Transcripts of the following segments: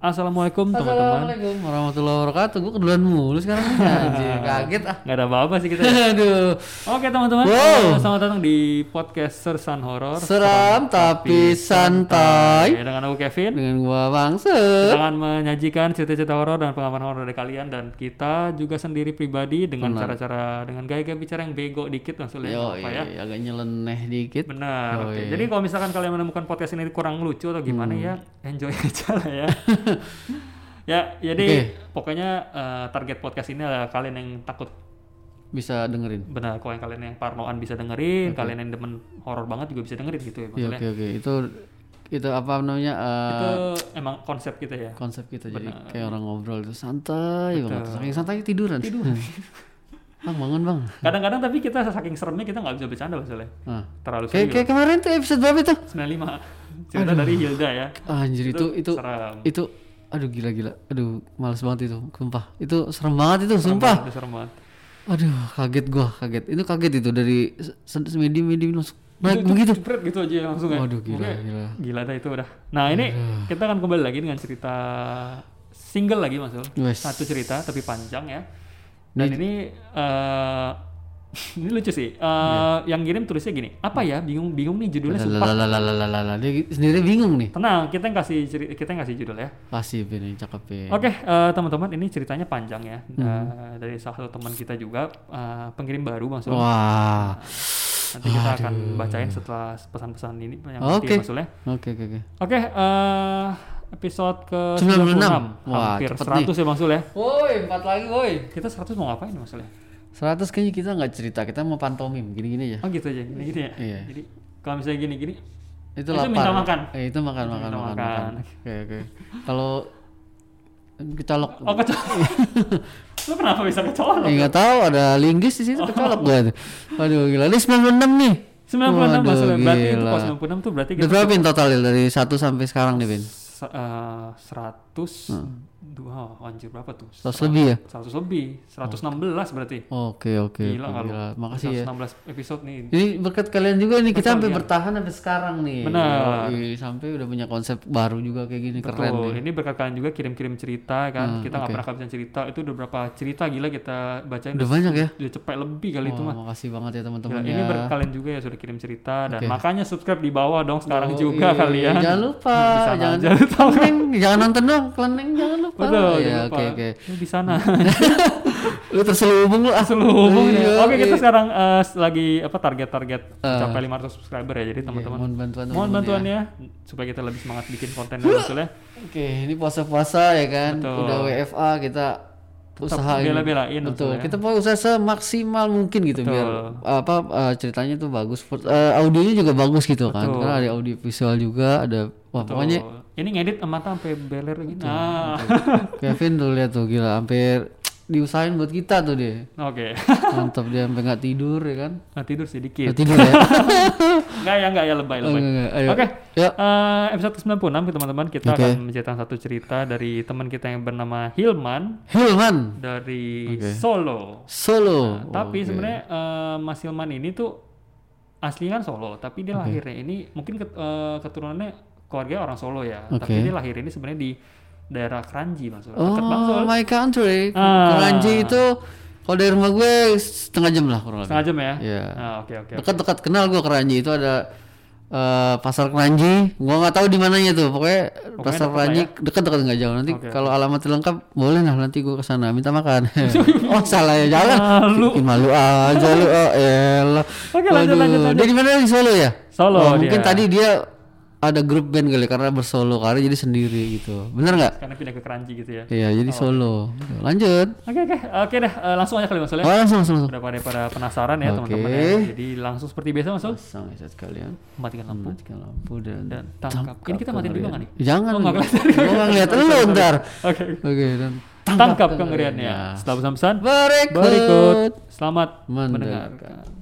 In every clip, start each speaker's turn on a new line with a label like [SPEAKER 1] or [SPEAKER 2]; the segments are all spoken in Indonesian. [SPEAKER 1] Assalamualaikum teman-teman.
[SPEAKER 2] Assalamualaikum warahmatullahi wabarakatuh. Gue kedulan mulu sekarang nih. Anjir, kaget ah.
[SPEAKER 1] Nggak ada apa-apa sih kita. ya.
[SPEAKER 2] Aduh.
[SPEAKER 1] Oke teman-teman,
[SPEAKER 2] Wow.
[SPEAKER 1] selamat datang di podcast Sersan Horor.
[SPEAKER 2] Seram tapi santai.
[SPEAKER 1] Ya, dengan aku Kevin.
[SPEAKER 2] Dengan gua
[SPEAKER 1] Kita
[SPEAKER 2] bangsa.
[SPEAKER 1] akan menyajikan cerita-cerita horor dan pengalaman horor dari kalian dan kita juga sendiri pribadi dengan cara-cara dengan gaya-gaya bicara yang bego dikit maksudnya.
[SPEAKER 2] Yo,
[SPEAKER 1] apa ya?
[SPEAKER 2] agak nyeleneh dikit.
[SPEAKER 1] Benar.
[SPEAKER 2] Oh,
[SPEAKER 1] oke.
[SPEAKER 2] iya.
[SPEAKER 1] Jadi kalau misalkan kalian menemukan podcast ini kurang lucu atau gimana
[SPEAKER 2] Hmm.
[SPEAKER 1] ya, enjoy aja lah ya. ya, jadi pokoknya eh, target podcast ini adalah kalian yang takut
[SPEAKER 2] Bisa dengerin.
[SPEAKER 1] benar kalau yang kalian yang parnoan bisa dengerin, kalian yang demen horor banget juga bisa dengerin gitu ya
[SPEAKER 2] Iya,
[SPEAKER 1] maksudnya.
[SPEAKER 2] oke oke. Itu itu apa namanya? eh,
[SPEAKER 1] Itu emang konsep kita ya.
[SPEAKER 2] konsep kita jadi kayak orang ngobrol itu santai banget. Saking santai tiduran. Tiduran. bang bangun, Bang.
[SPEAKER 1] Kadang-kadang tapi kita saking seremnya kita nggak bisa bercanda maksudnya.
[SPEAKER 2] Nah.
[SPEAKER 1] Terlalu
[SPEAKER 2] Kayak,
[SPEAKER 1] serius.
[SPEAKER 2] kayak kemarin tuh episode berapa itu?
[SPEAKER 1] 95. Cerita dari Hilda ya.
[SPEAKER 2] Anjir itu itu
[SPEAKER 1] Serem.
[SPEAKER 2] itu aduh gila gila. Aduh, males banget itu. Sumpah. Itu serem banget itu, sumpah.
[SPEAKER 1] Itu serem banget.
[SPEAKER 2] Aduh, kaget gua, kaget. Itu kaget itu dari semedi medi langsung
[SPEAKER 1] Itu-
[SPEAKER 2] naik
[SPEAKER 1] itu
[SPEAKER 2] Nah, begitu.
[SPEAKER 1] jepret gitu aja langsung ya.
[SPEAKER 2] Waduh, gila,
[SPEAKER 1] Oke.
[SPEAKER 2] gila. Iya.
[SPEAKER 1] Gila dah itu udah. Nah, ini kita akan kembali lagi dengan cerita single lagi Mas Ul.
[SPEAKER 2] Wes.
[SPEAKER 1] Satu cerita tapi panjang ya. Dan ini eh, ini lucu sih. Eh,
[SPEAKER 2] Iya.
[SPEAKER 1] yang kirim tulisnya gini. Apa ya? Bingung-bingung nih judulnya sumpah.
[SPEAKER 2] Lalalalalalala. Dia sendiri bingung nih.
[SPEAKER 1] Tenang, kita yang kasih ceri- kita yang kasih judul ya.
[SPEAKER 2] Pasif ini cakep ya.
[SPEAKER 1] Oke, eh, teman-teman, ini ceritanya panjang ya.
[SPEAKER 2] Hmm.
[SPEAKER 1] Eh, dari salah satu teman kita juga eh, pengirim baru Mas Ul.
[SPEAKER 2] Wah.
[SPEAKER 1] Nanti kita akan bacain setelah pesan-pesan ini yang
[SPEAKER 2] Oh, Oke.
[SPEAKER 1] Mas Ul ya.
[SPEAKER 2] Oke, oke, oke.
[SPEAKER 1] Oke, eh episode ke 96.
[SPEAKER 2] 96. Wah,
[SPEAKER 1] Hampir
[SPEAKER 2] cepet
[SPEAKER 1] 100 ya Bang Sul ya.
[SPEAKER 2] Woi, empat lagi, woi.
[SPEAKER 1] Kita 100 mau ngapain Bang Sul ya?
[SPEAKER 2] 100 kayaknya kita nggak cerita, kita mau pantomim gini-gini ya.
[SPEAKER 1] Oh gitu aja, gini-gini ya?
[SPEAKER 2] Iya.
[SPEAKER 1] Jadi kalau misalnya gini-gini,
[SPEAKER 2] Itu
[SPEAKER 1] Itu
[SPEAKER 2] lapar.
[SPEAKER 1] minta makan.
[SPEAKER 2] Eh, itu makan,
[SPEAKER 1] Itu
[SPEAKER 2] makan,
[SPEAKER 1] minta
[SPEAKER 2] makan,
[SPEAKER 1] makan.
[SPEAKER 2] makan. Oke, oke. Kalau kecolok
[SPEAKER 1] oh kecolok. Lu kenapa bisa kecolok?
[SPEAKER 2] Eh, nggak tahu ada linggis di situ kecolok gua tuh. Waduh, gila. Ini 96 nih.
[SPEAKER 1] 96 Bang Sul ya.
[SPEAKER 2] Waduh,
[SPEAKER 1] Berarti itu
[SPEAKER 2] gila.
[SPEAKER 1] pas 96 tuh berarti
[SPEAKER 2] Udah
[SPEAKER 1] kita
[SPEAKER 2] berapa pin total Lil, dari 1 sampai sekarang nih pin?
[SPEAKER 1] se- eh, 100 dua oh, anjir berapa tuh?
[SPEAKER 2] 100 lebih ya?
[SPEAKER 1] 100 lebih, 116 berarti.
[SPEAKER 2] Oke oke.
[SPEAKER 1] Gila
[SPEAKER 2] oke,
[SPEAKER 1] nggak lu?
[SPEAKER 2] gila. Makasih ya.
[SPEAKER 1] 116 episode nih.
[SPEAKER 2] Ini berkat kalian juga nih kita sampai bertahan sampai sekarang nih.
[SPEAKER 1] Benar.
[SPEAKER 2] Yoi, sampai udah punya konsep baru juga kayak gini keren Hmm,
[SPEAKER 1] Betul.
[SPEAKER 2] nih.
[SPEAKER 1] Ini berkat kalian juga kirim-kirim cerita kan. kita nggak pernah kehabisan cerita. Itu udah berapa cerita gila kita bacain.
[SPEAKER 2] Udah banyak ya.
[SPEAKER 1] udah cepet lebih kali itu
[SPEAKER 2] Wah,
[SPEAKER 1] mah.
[SPEAKER 2] makasih banget ya teman-teman
[SPEAKER 1] Gila,
[SPEAKER 2] ya.
[SPEAKER 1] Ini berkat kalian juga ya sudah kirim cerita dan makanya subscribe di bawah dong sekarang
[SPEAKER 2] Yoi,
[SPEAKER 1] juga ya. kalian.
[SPEAKER 2] Jangan lupa,
[SPEAKER 1] Bisa
[SPEAKER 2] jangan
[SPEAKER 1] aja lu tahu.
[SPEAKER 2] kleneng, jangan nonton dong, kleneng jangan lupa.
[SPEAKER 1] Betul,
[SPEAKER 2] ya,
[SPEAKER 1] jangan lupa.
[SPEAKER 2] oke oke.
[SPEAKER 1] Lu di sana.
[SPEAKER 2] Lu terselubung lu ah.
[SPEAKER 1] Selubung ya.
[SPEAKER 2] Iya,
[SPEAKER 1] Oke, kita
[SPEAKER 2] iya. Eh.
[SPEAKER 1] sekarang eh, lagi apa target-target mencapai 500 subscriber ya. Jadi teman-teman
[SPEAKER 2] Iya, Mohon bantuan
[SPEAKER 1] mohon
[SPEAKER 2] teman-teman ya.
[SPEAKER 1] bantuannya supaya kita lebih semangat bikin konten dan hasilnya.
[SPEAKER 2] Oke, ini puasa-puasa ya kan.
[SPEAKER 1] Betul.
[SPEAKER 2] Udah WFA kita usahain.
[SPEAKER 1] bela-belain
[SPEAKER 2] Betul.
[SPEAKER 1] maksudnya.
[SPEAKER 2] Kita mau usaha semaksimal mungkin gitu biar apa eh, ceritanya tuh bagus. Fur- eh, audionya juga bagus gitu kan. Karena ada audio visual juga, ada wah pokoknya
[SPEAKER 1] Tuh. Ini ngedit mata sampai beler gini. Nah.
[SPEAKER 2] Kevin tuh lihat tuh gila hampir diusahain buat kita tuh deh.
[SPEAKER 1] Oke.
[SPEAKER 2] Mantap dia sampai nggak tidur ya kan.
[SPEAKER 1] Nah, tidur sedikit.
[SPEAKER 2] Nggak tidur ya.
[SPEAKER 1] Enggak ya, enggak ya lebay, lebay.
[SPEAKER 2] Oh, nggak, nggak. Ayo.
[SPEAKER 1] Iya, Oke.
[SPEAKER 2] Ya.
[SPEAKER 1] Eh, episode ke-96 teman-teman kita
[SPEAKER 2] Oke.
[SPEAKER 1] akan menceritakan satu cerita dari teman kita yang bernama Hilman
[SPEAKER 2] Hilman
[SPEAKER 1] dari Solo.
[SPEAKER 2] Solo.
[SPEAKER 1] Tapi sebenarnya eh, Mas Hilman ini tuh aslinya kan Solo, tapi dia lahirnya ini mungkin ket- eh, keturunannya keluarga orang Solo ya.
[SPEAKER 2] Oke.
[SPEAKER 1] Tapi dia lahir ini sebenarnya di daerah Kranji maksudnya. Dekat banget
[SPEAKER 2] Oh,
[SPEAKER 1] Solo.
[SPEAKER 2] my country.
[SPEAKER 1] Ah.
[SPEAKER 2] Keranji itu kalau dari rumah gue setengah jam lah kurang lebih.
[SPEAKER 1] Setengah jam ya.
[SPEAKER 2] Iya.
[SPEAKER 1] Ah, oke oke. oke.
[SPEAKER 2] Dekat-dekat kenal gue Keranji itu ada eh, pasar Keranji. Gua nggak tahu di mananya tuh. Pokoknya, pasar
[SPEAKER 1] ya.
[SPEAKER 2] Keranji dekat-dekat nggak jauh. Nanti kalau alamatnya lengkap boleh lah nanti gue kesana minta makan. oh salah ya jalan.
[SPEAKER 1] Malu.
[SPEAKER 2] Bikin malu aja lu. Oh elah.
[SPEAKER 1] Oke, lanjut,
[SPEAKER 2] Waduh.
[SPEAKER 1] lanjut, lanjut.
[SPEAKER 2] Dia di mana di Solo ya?
[SPEAKER 1] Solo
[SPEAKER 2] Oh, mungkin
[SPEAKER 1] dia.
[SPEAKER 2] tadi dia ada grup band kali karena bersolo karena jadi sendiri gitu. Bener nggak?
[SPEAKER 1] Karena pindah ke Kranji gitu ya.
[SPEAKER 2] Iya, jadi solo. Lanjut.
[SPEAKER 1] Oke oke oke dah eh, langsung aja kali Mas Ul ya.
[SPEAKER 2] Oh, langsung langsung. langsung.
[SPEAKER 1] Udah pada pada penasaran ya
[SPEAKER 2] Oke.
[SPEAKER 1] teman-teman ya. Jadi langsung seperti biasa Mas Ul,
[SPEAKER 2] Pasang ya sekalian.
[SPEAKER 1] matikan lampu
[SPEAKER 2] Matikan lampu dan,
[SPEAKER 1] dan tangkap. Ini kita matiin dulu nggak nih?
[SPEAKER 2] Hmm. jangan.
[SPEAKER 1] Oh, nggak kelihatan.
[SPEAKER 2] Gua nggak ngeliat lu ntar.
[SPEAKER 1] Oke.
[SPEAKER 2] Oke, dan Iya.
[SPEAKER 1] Tangkap kengeriannya. Setelah pesan-pesan
[SPEAKER 2] Berikut.
[SPEAKER 1] berikut. Selamat mendengarkan.
[SPEAKER 2] Mendengarkan.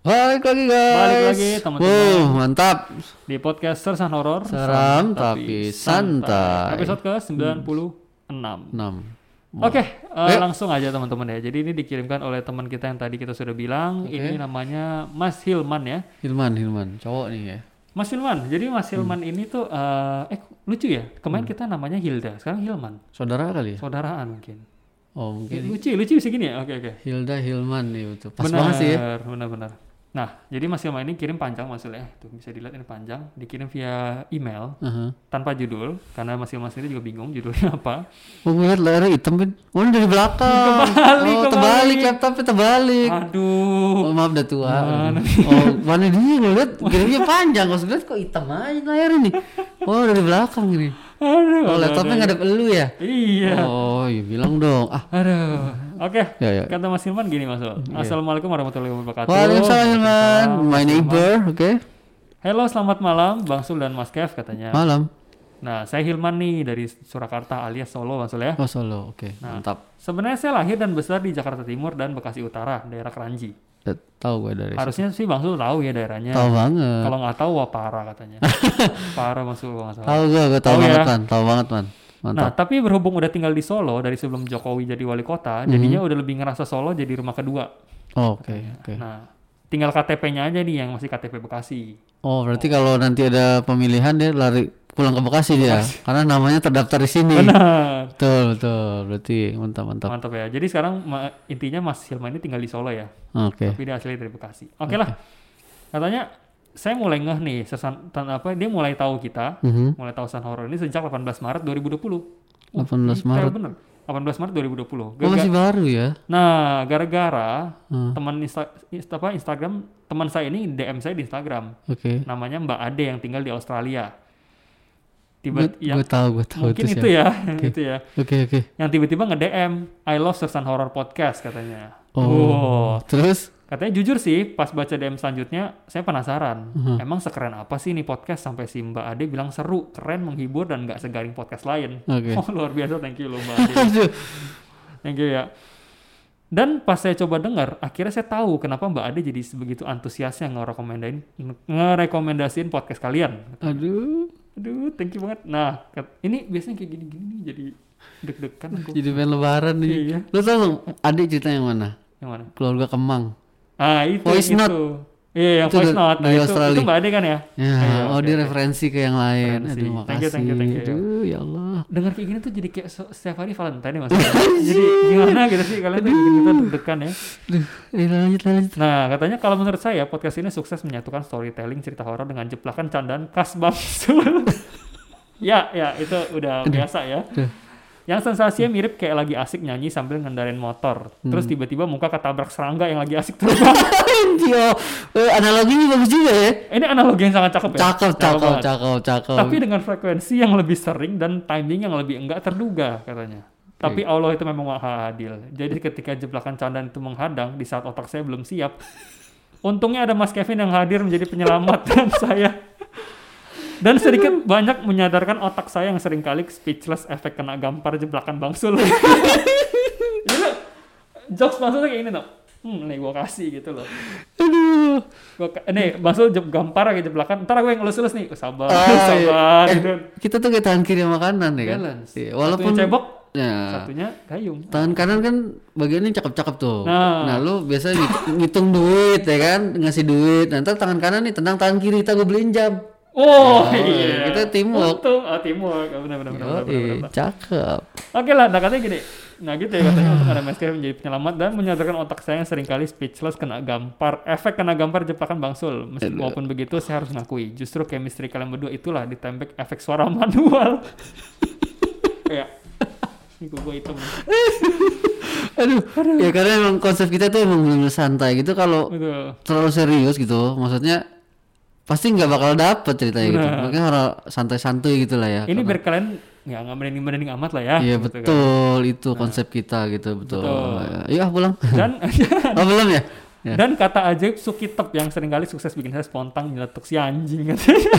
[SPEAKER 2] Balik lagi guys.
[SPEAKER 1] Balik lagi, teman-teman.
[SPEAKER 2] Wow, mantap.
[SPEAKER 1] di podcast Sersan Horor
[SPEAKER 2] Seram tapi santai.
[SPEAKER 1] episode ke 96
[SPEAKER 2] Enam. Hmm.
[SPEAKER 1] Oke, eh,
[SPEAKER 2] Ayo.
[SPEAKER 1] langsung aja teman-teman ya. Jadi ini dikirimkan oleh teman kita yang tadi kita sudah bilang. Ini namanya Mas Hilman ya.
[SPEAKER 2] Hilman, Hilman, cowok nih ya.
[SPEAKER 1] Mas Hilman. Jadi Mas Hilman
[SPEAKER 2] Hmm.
[SPEAKER 1] ini tuh eh, eh lucu ya. Kemarin kita namanya Hilda, sekarang Hilman.
[SPEAKER 2] Saudara kali ya?
[SPEAKER 1] Saudaraan mungkin. Iya,
[SPEAKER 2] Oh, mungkin
[SPEAKER 1] Lucu, lucu bisa gini ya. Oke, oke.
[SPEAKER 2] Hilda Hilman nih betul. Pas
[SPEAKER 1] benar,
[SPEAKER 2] banget sih ya.
[SPEAKER 1] Benar, benar. Nah, jadi Mas Hilman ini kirim panjang Mas Hil, ya. Tuh bisa dilihat ini panjang, dikirim via email
[SPEAKER 2] Aha.
[SPEAKER 1] tanpa judul karena Mas Hilman sendiri juga bingung judulnya apa.
[SPEAKER 2] Oh, gue liat layarnya hitam kan. Oh, ini dari belakang.
[SPEAKER 1] Kebalik,
[SPEAKER 2] oh,
[SPEAKER 1] kebalik.
[SPEAKER 2] terbalik laptopnya terbalik.
[SPEAKER 1] Ah, Aduh.
[SPEAKER 2] Iya. Oh, maaf udah tua.
[SPEAKER 1] Mana
[SPEAKER 2] oh, mana dia gue liat kirimnya panjang. Gue liat kok hitam aja layar ini. Oh, dari belakang ini.
[SPEAKER 1] Aduh.
[SPEAKER 2] Oh, laptopnya ngadep elu ya?
[SPEAKER 1] Iya.
[SPEAKER 2] Oh, ya bilang dong. Ah,
[SPEAKER 1] Aduh. Oke.
[SPEAKER 2] Ya, ya.
[SPEAKER 1] Kata Mas Hilman gini Mas. Ul. Assalamualaikum warahmatullahi wabarakatuh.
[SPEAKER 2] Iya. Waalaikumsalam Hilman. My
[SPEAKER 1] Mas Hilman.
[SPEAKER 2] neighbor, oke.
[SPEAKER 1] Ya. Halo, selamat malam Bang Sul dan Mas Kev katanya.
[SPEAKER 2] Malam.
[SPEAKER 1] Nah, saya Hilman nih dari Surakarta alias Solo Mas Ul ya.
[SPEAKER 2] Oh, Solo, oke. Mantap.
[SPEAKER 1] Sebenarnya saya lahir dan besar di Jakarta Timur dan Bekasi Utara, daerah Kranji.
[SPEAKER 2] Udah Tahu gue dari.
[SPEAKER 1] Harusnya sih Bang Sul tahu ya daerahnya.
[SPEAKER 2] Tahu banget.
[SPEAKER 1] Kalau nggak tahu wah parah katanya. parah Mas Ul kalau nggak salah.
[SPEAKER 2] Tahu gue, gue tahu
[SPEAKER 1] Tahu ya.
[SPEAKER 2] banget man. Tahu banget man.
[SPEAKER 1] Nah,
[SPEAKER 2] Mantap.
[SPEAKER 1] tapi berhubung udah tinggal di Solo dari sebelum Jokowi jadi wali kota,
[SPEAKER 2] Mhm.
[SPEAKER 1] jadinya udah lebih ngerasa Solo jadi rumah kedua.
[SPEAKER 2] Oh, Oke, oke.
[SPEAKER 1] Nah, tinggal KTP-nya aja nih yang masih KTP Bekasi.
[SPEAKER 2] Oh, berarti kalau nanti ada pemilihan dia lari pulang ke Bekasi dia, karena namanya terdaftar di sini.
[SPEAKER 1] Benar.
[SPEAKER 2] Betul, betul. Berarti mantap, mantap.
[SPEAKER 1] Mantap ya. Jadi sekarang ma- intinya Mas Hilman ini tinggal di Solo ya,
[SPEAKER 2] Oke.
[SPEAKER 1] tapi dia asli dari Bekasi. Oke lah. Katanya saya mulai ngeh nih sesan tan- apa dia mulai tahu kita,
[SPEAKER 2] Mhm.
[SPEAKER 1] mulai tahu San Horor ini sejak 18 Maret 2020.
[SPEAKER 2] 18
[SPEAKER 1] Saya
[SPEAKER 2] Maret.
[SPEAKER 1] Iya, bener. 18 Maret 2020.
[SPEAKER 2] Oh, masih baru ya?
[SPEAKER 1] Nah, gara-gara
[SPEAKER 2] Hmm.
[SPEAKER 1] teman insta- inst- apa, Instagram teman saya ini DM saya di Instagram.
[SPEAKER 2] Oke.
[SPEAKER 1] Namanya Mbak Ade yang tinggal di Australia. Tiba
[SPEAKER 2] Gue
[SPEAKER 1] yang
[SPEAKER 2] gue tahu, gue tahu
[SPEAKER 1] mungkin
[SPEAKER 2] itu
[SPEAKER 1] itu ya,
[SPEAKER 2] siapa.
[SPEAKER 1] itu ya.
[SPEAKER 2] Oke, oke.
[SPEAKER 1] Yang tiba-tiba nge-DM, "I love Sersan Horror Podcast" katanya. Wow.
[SPEAKER 2] Oh. Terus?
[SPEAKER 1] Katanya jujur sih, pas baca DM selanjutnya, saya penasaran.
[SPEAKER 2] Mhm.
[SPEAKER 1] Emang sekeren apa sih nih podcast sampai si Mbak Ade bilang seru, keren, menghibur, dan nggak segaring podcast lain.
[SPEAKER 2] Oke.
[SPEAKER 1] Oh, luar biasa. Thank you loh Mbak Ade.
[SPEAKER 2] Aduh.
[SPEAKER 1] Thank you ya. Dan pas saya coba dengar, akhirnya saya tahu kenapa Mbak Ade jadi sebegitu antusiasnya ngerekomendain ngerekomendasiin podcast kalian.
[SPEAKER 2] Aduh.
[SPEAKER 1] Aduh, thank you banget. Nah, kat- ini biasanya kayak gini-gini nih jadi deg-degan aku.
[SPEAKER 2] Jadi pengen lebaran nih.
[SPEAKER 1] Iya.
[SPEAKER 2] Lo tau nggak, adik cerita yang mana?
[SPEAKER 1] Yang mana?
[SPEAKER 2] Keluarga Kemang.
[SPEAKER 1] Ah, itu
[SPEAKER 2] Voice
[SPEAKER 1] itu.
[SPEAKER 2] note.
[SPEAKER 1] Iya, yang
[SPEAKER 2] Itu
[SPEAKER 1] voice
[SPEAKER 2] dari-
[SPEAKER 1] note. Nah,
[SPEAKER 2] dari
[SPEAKER 1] itu,
[SPEAKER 2] Australia.
[SPEAKER 1] itu Mbak Ade kan ya?
[SPEAKER 2] Ya,
[SPEAKER 1] Iya,
[SPEAKER 2] oh
[SPEAKER 1] oke,
[SPEAKER 2] dia
[SPEAKER 1] oke.
[SPEAKER 2] referensi ke yang lain.
[SPEAKER 1] Referensi.
[SPEAKER 2] Aduh, makasih.
[SPEAKER 1] Thank you, thank you, thank you.
[SPEAKER 2] Aduh, ya Allah.
[SPEAKER 1] Dengar kayak gini tuh jadi kayak se- setiap hari Valentine ya Mas. jadi gimana gitu sih kalian tuh gitu deg-degan ya.
[SPEAKER 2] Aduh, eh, lanjut, lanjut.
[SPEAKER 1] Nah, katanya kalau menurut saya podcast ini sukses menyatukan storytelling cerita horor dengan jeplakan candaan khas Bang Sul. ya, ya, itu udah biasa ya.
[SPEAKER 2] Aduh.
[SPEAKER 1] Yang sensasinya mirip kayak lagi asik nyanyi sambil ngendarain motor. Terus
[SPEAKER 2] Hmm.
[SPEAKER 1] tiba-tiba muka ketabrak serangga yang lagi asik terbang.
[SPEAKER 2] Tio, eh, analoginya bagus juga ya.
[SPEAKER 1] ini analogi yang sangat cakep ya.
[SPEAKER 2] Cakep, cakep,
[SPEAKER 1] banget.
[SPEAKER 2] cakep, cakep.
[SPEAKER 1] Tapi dengan frekuensi yang lebih sering dan timing yang lebih enggak terduga katanya.
[SPEAKER 2] Iya.
[SPEAKER 1] Tapi Allah itu memang maha adil. Jadi ketika jeplakan candaan itu menghadang di saat otak saya belum siap, untungnya ada Mas Kevin yang hadir menjadi penyelamat dan saya dan sedikit banyak menyadarkan otak saya yang seringkali speechless efek kena gampar jeplakan Bang Sul. Ini loh, jokes maksudnya kayak ini loh. Hmm, nih gua kasih gitu loh.
[SPEAKER 2] Aduh.
[SPEAKER 1] Gua, ka- nih, Bang Sul jeb- gampar kayak jeplakan. Ntar gue yang elus-elus nih. Oh, Sabar,
[SPEAKER 2] Ah, iya.
[SPEAKER 1] sabar.
[SPEAKER 2] Eh,
[SPEAKER 1] gitu.
[SPEAKER 2] kita tuh kayak tangan kiri sama kanan ya kan?
[SPEAKER 1] Balance.
[SPEAKER 2] Iya,
[SPEAKER 1] Walaupun
[SPEAKER 2] walaupun
[SPEAKER 1] cebok,
[SPEAKER 2] ya,
[SPEAKER 1] satunya gayung.
[SPEAKER 2] tangan kanan kan bagiannya cakep-cakep tuh.
[SPEAKER 1] Nah.
[SPEAKER 2] Nah, lu biasa ngit- ngitung duit ya kan, ngasih duit. Nanti tangan kanan nih tendang tangan kiri, kita gue beliin jam.
[SPEAKER 1] Oh,
[SPEAKER 2] Oh,
[SPEAKER 1] iya.
[SPEAKER 2] kita teamwork.
[SPEAKER 1] Untung, ah, teamwork. Ah, Benar, benar, benar, benar, benar,
[SPEAKER 2] Yoi,
[SPEAKER 1] benar.
[SPEAKER 2] cakep.
[SPEAKER 1] Oke lah, nah katanya gini. Nah gitu ya katanya untuk ada Mas Kevin menjadi penyelamat dan menyadarkan otak saya yang seringkali speechless kena gampar. Efek kena gampar jeplakan Bang Sul. Meski walaupun begitu saya harus ngakui. Justru chemistry kalian berdua itulah ditembek efek suara manual. Kayak, ini gue hitam.
[SPEAKER 2] Aduh, ya karena emang konsep kita tuh emang bener santai gitu kalau
[SPEAKER 1] Betul.
[SPEAKER 2] terlalu serius gitu, maksudnya pasti nggak bakal dapet ceritanya gitu.
[SPEAKER 1] Benar.
[SPEAKER 2] Makanya harus santai-santuy gitu lah ya.
[SPEAKER 1] Ini biar kalian ya nggak merinding-merinding amat lah ya.
[SPEAKER 2] Iya
[SPEAKER 1] gitu kan.
[SPEAKER 2] betul, itu konsep kita gitu betul.
[SPEAKER 1] Betul.
[SPEAKER 2] Ya, Iya pulang.
[SPEAKER 1] Dan
[SPEAKER 2] oh belum ya? Ya.
[SPEAKER 1] Dan kata ajaib Sukitep yang seringkali sukses bikin saya spontan nyeletuk si anjing katanya.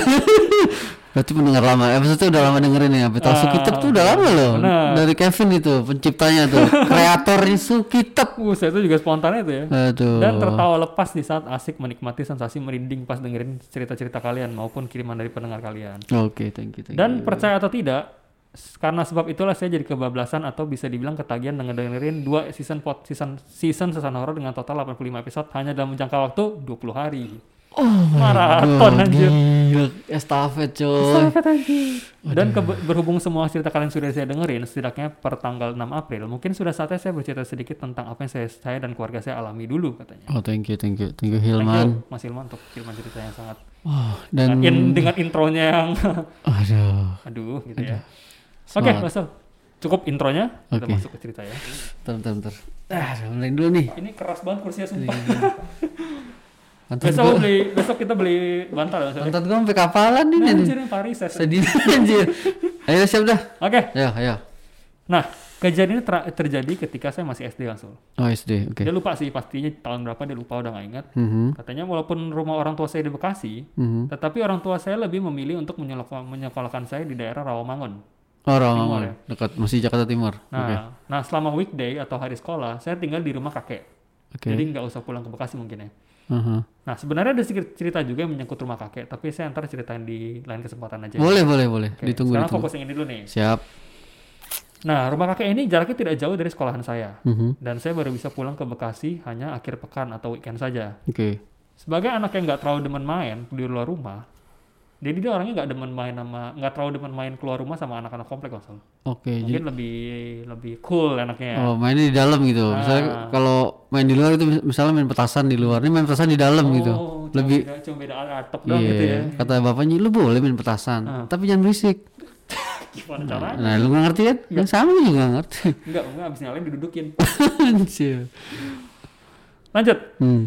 [SPEAKER 2] Berarti pendengar lama. Eh, maksudnya udah lama dengerin ya. Betul
[SPEAKER 1] Ah,
[SPEAKER 2] Sukitep tuh udah lama loh.
[SPEAKER 1] benar.
[SPEAKER 2] Dari Kevin itu penciptanya tuh, kreatornya Sukitep.
[SPEAKER 1] Uh, saya itu juga spontan itu ya.
[SPEAKER 2] Aduh.
[SPEAKER 1] Dan tertawa lepas di saat asik menikmati sensasi merinding pas dengerin cerita-cerita kalian maupun kiriman dari pendengar kalian.
[SPEAKER 2] Oke, thank you, thank you.
[SPEAKER 1] Dan percaya atau tidak, s- karena sebab itulah saya jadi kebablasan atau bisa dibilang ketagihan dengan dengerin dua season pot season season season horor dengan total 85 episode hanya dalam jangka waktu 20 hari.
[SPEAKER 2] Oh my
[SPEAKER 1] Maraton,
[SPEAKER 2] God,
[SPEAKER 1] anjir.
[SPEAKER 2] Gila, estafet coy.
[SPEAKER 1] Sangat anjing. Dan kebe- berhubung semua cerita kalian sudah saya dengerin, setidaknya per tanggal 6 April, mungkin sudah saatnya saya bercerita sedikit tentang apa yang saya, saya dan keluarga saya alami dulu katanya.
[SPEAKER 2] Oh, thank you, thank you, thank you
[SPEAKER 1] Thank
[SPEAKER 2] Hilman.
[SPEAKER 1] you, Mas Ilman untuk kiriman cerita yang sangat
[SPEAKER 2] Wah, dan
[SPEAKER 1] Nah, in- dengan intronya yang
[SPEAKER 2] aduh.
[SPEAKER 1] aduh gitu ya. Oke,
[SPEAKER 2] Semangat.
[SPEAKER 1] Mas Sul. cukup intronya, kita
[SPEAKER 2] Oke.
[SPEAKER 1] masuk ke cerita ya.
[SPEAKER 2] Bentar, bentar, bentar. Ah, udah mulai dulu nih.
[SPEAKER 1] Ini keras banget kursinya sumpah.
[SPEAKER 2] Pantat
[SPEAKER 1] besok
[SPEAKER 2] gua,
[SPEAKER 1] beli besok kita beli bantal ya. Mas Sul.
[SPEAKER 2] pantat gua sampai kapalan
[SPEAKER 1] Nah,
[SPEAKER 2] ini.
[SPEAKER 1] anjir, ini Paris. ya. Oke.
[SPEAKER 2] Sedih anjir. Ayo siap dah. Ya, Ayo, ayo.
[SPEAKER 1] Nah, kejadian ini ter- terjadi ketika saya masih SD langsung.
[SPEAKER 2] Oh, SD. Oke.
[SPEAKER 1] Dia lupa sih pastinya tahun berapa dia lupa udah nggak ingat.
[SPEAKER 2] Mhm.
[SPEAKER 1] Katanya walaupun rumah orang tua saya di Bekasi,
[SPEAKER 2] Mhm.
[SPEAKER 1] tetapi orang tua saya lebih memilih untuk menyelok- menyekolahkan saya di daerah Rawamangun. Timur
[SPEAKER 2] Oh, Rawamangun.
[SPEAKER 1] ya?
[SPEAKER 2] Dekat masih Jakarta Timur.
[SPEAKER 1] Nah,
[SPEAKER 2] Oke.
[SPEAKER 1] nah selama weekday atau hari sekolah saya tinggal di rumah kakek.
[SPEAKER 2] Oke.
[SPEAKER 1] Jadi nggak usah pulang ke Bekasi mungkin ya.
[SPEAKER 2] Aha.
[SPEAKER 1] Nah sebenarnya ada sedikit cerita juga yang menyangkut rumah kakek, tapi saya ntar ceritain di lain kesempatan aja.
[SPEAKER 2] Boleh, boleh, boleh.
[SPEAKER 1] Oke,
[SPEAKER 2] Ditunggu,
[SPEAKER 1] Sekarang
[SPEAKER 2] ditunggu.
[SPEAKER 1] fokus yang ini dulu nih.
[SPEAKER 2] Siap.
[SPEAKER 1] Nah rumah kakek ini jaraknya tidak jauh dari sekolahan saya,
[SPEAKER 2] Mhm.
[SPEAKER 1] dan saya baru bisa pulang ke Bekasi hanya akhir pekan atau weekend saja.
[SPEAKER 2] Oke.
[SPEAKER 1] sebagai anak yang nggak terlalu demen main di luar rumah jadi dia orangnya nggak demen main sama nggak terlalu demen main keluar rumah sama anak-anak komplek langsung
[SPEAKER 2] Oke, Iya, jadi
[SPEAKER 1] mungkin lebih lebih cool anaknya
[SPEAKER 2] Oh, mainnya di dalam gitu. Misalnya
[SPEAKER 1] Ah.
[SPEAKER 2] kalau main di luar itu mis- misalnya main petasan di luar, ini main petasan di dalam gitu.
[SPEAKER 1] cuma
[SPEAKER 2] Lebih
[SPEAKER 1] beda, cuma beda atap
[SPEAKER 2] iya.
[SPEAKER 1] doang Oh, gitu ya
[SPEAKER 2] Kata bapaknya lu boleh main petasan,
[SPEAKER 1] Ah.
[SPEAKER 2] tapi jangan berisik.
[SPEAKER 1] gimana caranya
[SPEAKER 2] Nah, lu gak ngerti kan?
[SPEAKER 1] Iya.
[SPEAKER 2] Yang sama juga nggak ngerti.
[SPEAKER 1] nggak nggak abis nyalain didudukin
[SPEAKER 2] Anjir.
[SPEAKER 1] lanjut
[SPEAKER 2] hmm.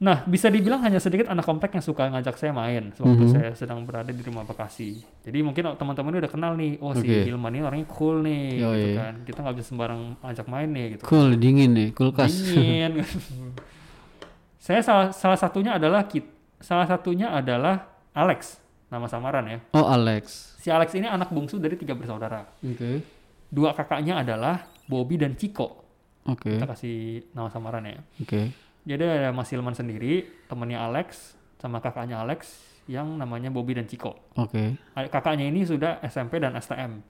[SPEAKER 1] nah bisa dibilang hanya sedikit anak komplek yang suka ngajak saya main waktu
[SPEAKER 2] Mhm.
[SPEAKER 1] saya sedang berada di rumah Bekasi jadi mungkin teman-teman ini udah kenal nih oh si
[SPEAKER 2] Oke.
[SPEAKER 1] Hilman ini orangnya cool nih
[SPEAKER 2] Yoi.
[SPEAKER 1] gitu kan kita nggak bisa sembarang ajak main nih gitu
[SPEAKER 2] Cool, dingin nih, kulkas.
[SPEAKER 1] dingin. saya salah salah satunya adalah kit salah satunya adalah Alex nama samaran ya
[SPEAKER 2] Oh, Alex.
[SPEAKER 1] si Alex ini anak bungsu dari tiga bersaudara
[SPEAKER 2] Oke.
[SPEAKER 1] dua kakaknya adalah Bobby dan Chico
[SPEAKER 2] Oke.
[SPEAKER 1] kita kasih nama samaran ya
[SPEAKER 2] Oke.
[SPEAKER 1] jadi ada Mas Hilman sendiri temennya Alex sama kakaknya Alex yang namanya Bobby dan Chico
[SPEAKER 2] Oke.
[SPEAKER 1] A- kakaknya ini sudah SMP dan STM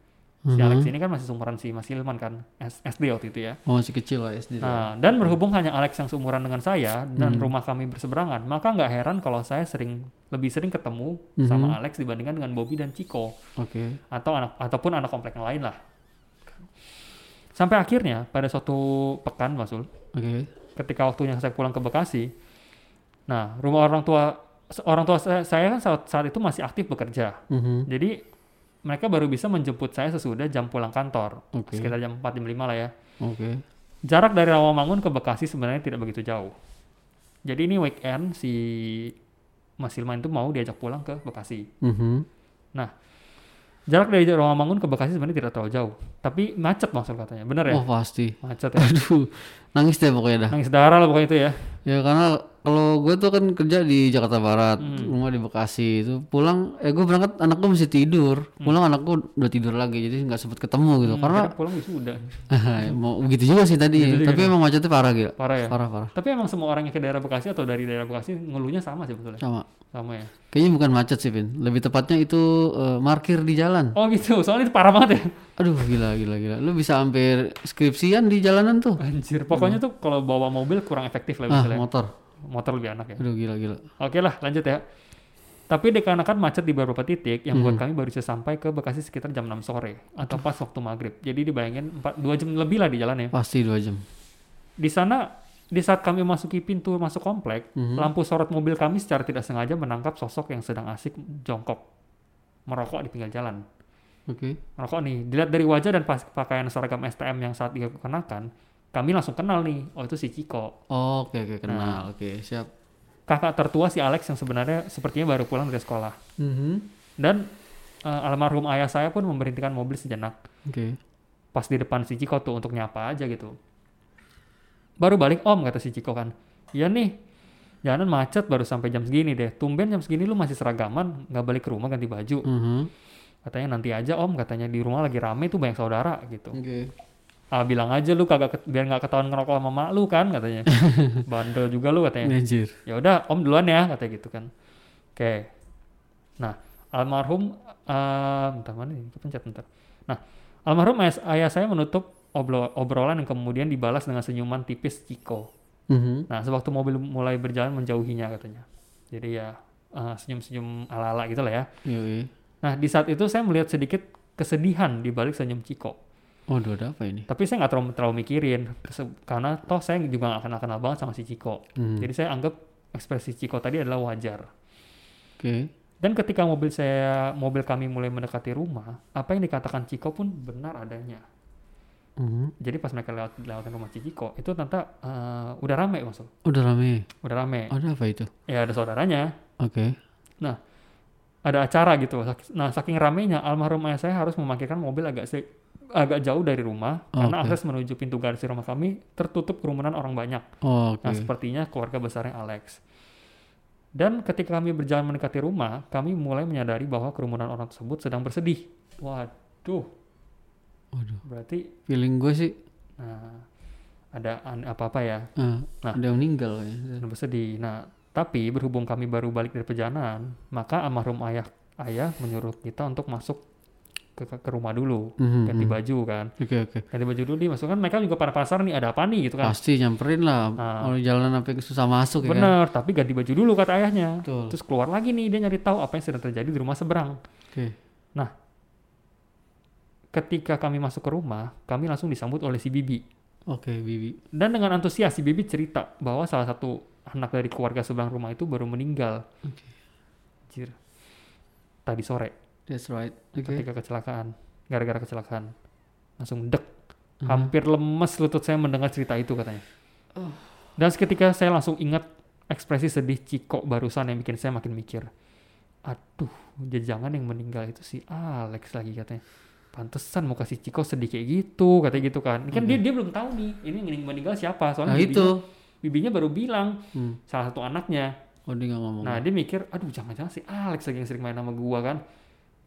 [SPEAKER 1] si
[SPEAKER 2] Mhm.
[SPEAKER 1] Alex ini kan masih seumuran si Mas Hilman kan S- SD waktu itu ya
[SPEAKER 2] Oh, masih kecil lah SD. lah.
[SPEAKER 1] Nah, dan berhubung hanya Alex yang seumuran dengan saya dan rumah kami berseberangan, maka nggak heran kalau saya sering lebih sering ketemu sama Alex dibandingkan dengan Bobby dan Chico
[SPEAKER 2] Oke.
[SPEAKER 1] atau anak ataupun anak komplek yang lain lah. Sampai akhirnya pada suatu pekan, Masul,
[SPEAKER 2] Oke.
[SPEAKER 1] ketika waktunya saya pulang ke Bekasi, nah rumah orang tua orang tua saya, saya kan saat, saat itu masih aktif bekerja,
[SPEAKER 2] Mhm.
[SPEAKER 1] jadi mereka baru bisa menjemput saya sesudah jam pulang kantor,
[SPEAKER 2] Oke.
[SPEAKER 1] sekitar jam 4 jam 5 lah ya.
[SPEAKER 2] Oke.
[SPEAKER 1] Jarak dari Rawamangun ke Bekasi sebenarnya tidak begitu jauh. Jadi ini weekend si Mas Hilman itu mau diajak pulang ke Bekasi.
[SPEAKER 2] Mhm.
[SPEAKER 1] Nah, jarak dari Rawamangun ke Bekasi sebenarnya tidak terlalu jauh. Tapi macet maksud katanya, bener ya?
[SPEAKER 2] Oh, Iya. pasti.
[SPEAKER 1] Macet ya.
[SPEAKER 2] Aduh, nangis deh pokoknya dah.
[SPEAKER 1] Nangis darah lah pokoknya itu ya.
[SPEAKER 2] Ya karena kalau gue tuh kan kerja di Jakarta Barat,
[SPEAKER 1] Hmm.
[SPEAKER 2] rumah di Bekasi itu pulang, eh gue berangkat anak gue masih tidur,
[SPEAKER 1] Hmm.
[SPEAKER 2] pulang anak gue udah tidur lagi jadi nggak sempet ketemu gitu. karena
[SPEAKER 1] Akhirnya pulang ya sudah.
[SPEAKER 2] mau begitu juga sih tadi, tapi emang macetnya parah gitu.
[SPEAKER 1] Parah ya.
[SPEAKER 2] Parah parah.
[SPEAKER 1] Tapi emang semua orang yang ke daerah Bekasi atau dari daerah Bekasi ngeluhnya sama sih sebetulnya.
[SPEAKER 2] Sama.
[SPEAKER 1] Sama ya.
[SPEAKER 2] Kayaknya bukan macet sih Vin, lebih tepatnya itu eh, markir di jalan.
[SPEAKER 1] Oh gitu, soalnya itu parah banget ya.
[SPEAKER 2] Aduh gila gila gila, lu bisa hampir skripsian di jalanan tuh.
[SPEAKER 1] Anjir, pokoknya tuh kalau bawa mobil kurang efektif lah
[SPEAKER 2] Iya. Ah
[SPEAKER 1] misalnya.
[SPEAKER 2] motor.
[SPEAKER 1] Motor lebih enak ya.
[SPEAKER 2] Aduh gila gila.
[SPEAKER 1] Oke lah, lanjut ya. Tapi dikarenakan macet di beberapa titik, yang buat kami baru bisa sampai ke Bekasi sekitar jam 6 sore atau pas waktu maghrib. Jadi dibayangin 4, 2 jam lebih lah di jalan ya.
[SPEAKER 2] Pasti dua jam.
[SPEAKER 1] Di sana, di saat kami masuki pintu masuk komplek,
[SPEAKER 2] Mhm. Hmm.
[SPEAKER 1] lampu sorot mobil kami secara tidak sengaja menangkap sosok yang sedang asik jongkok merokok di pinggir jalan.
[SPEAKER 2] Oke.
[SPEAKER 1] Merokok nih, dilihat dari wajah dan pas- pakaian seragam STM yang saat dia kenakan, kami langsung kenal nih, oh itu si Ciko.
[SPEAKER 2] Oh, Oke
[SPEAKER 1] Nah.
[SPEAKER 2] oke kenal. Oke siap.
[SPEAKER 1] Kakak tertua si Alex yang sebenarnya sepertinya baru pulang dari sekolah.
[SPEAKER 2] Mhm.
[SPEAKER 1] Dan eh, almarhum ayah saya pun memberhentikan mobil sejenak
[SPEAKER 2] Oke.
[SPEAKER 1] pas di depan si Ciko tuh untuk nyapa aja gitu. Baru balik om kata si Ciko kan. Iya nih, jalanan macet baru sampai jam segini deh. Tumben jam segini lu masih seragaman, nggak balik ke rumah ganti baju.
[SPEAKER 2] Mhm.
[SPEAKER 1] Katanya nanti aja om, katanya di rumah lagi rame tuh banyak saudara gitu.
[SPEAKER 2] Oke.
[SPEAKER 1] Ah bilang aja lu kagak ket- biar nggak ketahuan ngerokok sama mak lu kan katanya. Bandel juga lu katanya.
[SPEAKER 2] Anjir.
[SPEAKER 1] ya udah om duluan ya katanya gitu kan oke nah almarhum eh bentar mana ini kepencet bentar nah almarhum ayah, ayah saya menutup oblo- obrolan yang kemudian dibalas dengan senyuman tipis Ciko
[SPEAKER 2] Mhm.
[SPEAKER 1] nah sewaktu mobil mulai berjalan menjauhinya katanya jadi ya eh, senyum-senyum ala-ala gitu lah ya
[SPEAKER 2] Yoi.
[SPEAKER 1] nah di saat itu saya melihat sedikit kesedihan di balik senyum Ciko
[SPEAKER 2] Waduh, ada apa ini?
[SPEAKER 1] tapi saya nggak terlalu, terlalu mikirin se- karena toh saya juga nggak kenal-kenal banget sama si Ciko
[SPEAKER 2] Mhm.
[SPEAKER 1] jadi saya anggap ekspresi Ciko tadi adalah wajar
[SPEAKER 2] Oke.
[SPEAKER 1] Dan ketika mobil saya, mobil kami mulai mendekati rumah, apa yang dikatakan Ciko pun benar adanya.
[SPEAKER 2] Mhm.
[SPEAKER 1] Jadi pas mereka lewat lewatin rumah Ciko, itu ternyata eh, udah rame maksud,
[SPEAKER 2] Udah rame.
[SPEAKER 1] udah rame.
[SPEAKER 2] Ada apa itu?
[SPEAKER 1] Ya ada saudaranya,
[SPEAKER 2] Oke.
[SPEAKER 1] ada acara gitu. Sak- Nah saking ramenya, almarhum ayah saya harus memakaikan mobil agak se- agak jauh dari rumah
[SPEAKER 2] Oh,
[SPEAKER 1] karena
[SPEAKER 2] oke.
[SPEAKER 1] akses menuju pintu garasi rumah kami tertutup kerumunan orang banyak.
[SPEAKER 2] Oh, Oke.
[SPEAKER 1] Nah, sepertinya keluarga besarnya Alex. Dan ketika kami berjalan mendekati rumah, kami mulai menyadari bahwa kerumunan orang tersebut sedang bersedih. Waduh,
[SPEAKER 2] Waduh.
[SPEAKER 1] berarti
[SPEAKER 2] Feeling gue sih eh,
[SPEAKER 1] nah, ada an- apa-apa ya,
[SPEAKER 2] ah,
[SPEAKER 1] Nah.
[SPEAKER 2] udah meninggal ya. kayaknya.
[SPEAKER 1] sedang bersedih. Nah, tapi berhubung kami baru balik dari perjalanan, maka almarhum ayah ayah menyuruh kita untuk masuk ke, ke rumah dulu,
[SPEAKER 2] Mhm.
[SPEAKER 1] ganti baju kan.
[SPEAKER 2] Oke oke.
[SPEAKER 1] Ganti baju dulu dimasukkan, mereka juga pada pasar nih, ada apa nih gitu kan.
[SPEAKER 2] Pasti nyamperin lah.
[SPEAKER 1] Ah.
[SPEAKER 2] Kalau jalan sampai susah masuk ya kan.
[SPEAKER 1] Bener, tapi ganti baju dulu kata ayahnya.
[SPEAKER 2] Betul.
[SPEAKER 1] Terus keluar lagi nih, dia nyari tahu apa yang sedang terjadi di rumah seberang.
[SPEAKER 2] Oke.
[SPEAKER 1] Ketika kami masuk ke rumah, kami langsung disambut oleh si Bibi.
[SPEAKER 2] Oke, Bibi.
[SPEAKER 1] Dan dengan antusias si Bibi cerita bahwa salah satu anak dari keluarga seberang rumah itu baru meninggal. Anjir. Tadi sore
[SPEAKER 2] That's right. Oke.
[SPEAKER 1] ketika kecelakaan, gara-gara kecelakaan. Langsung dek.
[SPEAKER 2] Mm-hmm.
[SPEAKER 1] Hampir lemes lutut saya mendengar cerita itu katanya.
[SPEAKER 2] Oh.
[SPEAKER 1] Dan seketika saya langsung ingat ekspresi sedih Ciko barusan yang bikin saya makin mikir. Aduh, jangan yang meninggal itu si Alex lagi katanya. Pantesan mau kasih Ciko sedih kayak gitu, katanya gitu kan. Kan dia dia belum tahu nih, ini yang meninggal siapa. Soalnya
[SPEAKER 2] Nah,
[SPEAKER 1] bibinya,
[SPEAKER 2] itu.
[SPEAKER 1] bibinya baru bilang
[SPEAKER 2] Hmm.
[SPEAKER 1] salah satu anaknya.
[SPEAKER 2] Oh, dia nggak ngomong.
[SPEAKER 1] Nah, dia mikir, aduh jangan-jangan si Alex lagi yang sering main sama gua kan.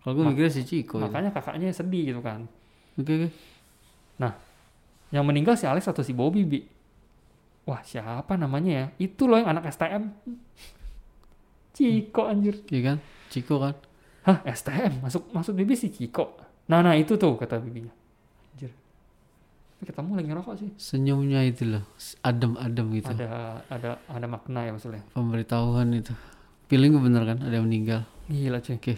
[SPEAKER 2] Kalau gue mikirnya si Ciko. ya. Oke,
[SPEAKER 1] Makanya kakaknya sedih gitu kan.
[SPEAKER 2] oke.
[SPEAKER 1] Yang meninggal si Alex atau si Bobby, Bi? Wah, siapa namanya ya? Itu loh yang anak STM. Ciko anjir.
[SPEAKER 2] Iya kan? Ciko kan?
[SPEAKER 1] Hah, STM? Masuk masuk Bibi si Ciko. Nah, nah itu tuh kata bibinya. Anjir. Tapi ketemu lagi ngerokok sih.
[SPEAKER 2] Senyumnya itu loh. s- Adem-adem gitu.
[SPEAKER 1] Ada ada ada makna ya maksudnya.
[SPEAKER 2] Pemberitahuan itu. Feeling gue bener kan? Ada yang meninggal.
[SPEAKER 1] Gila, cuy.
[SPEAKER 2] Oke.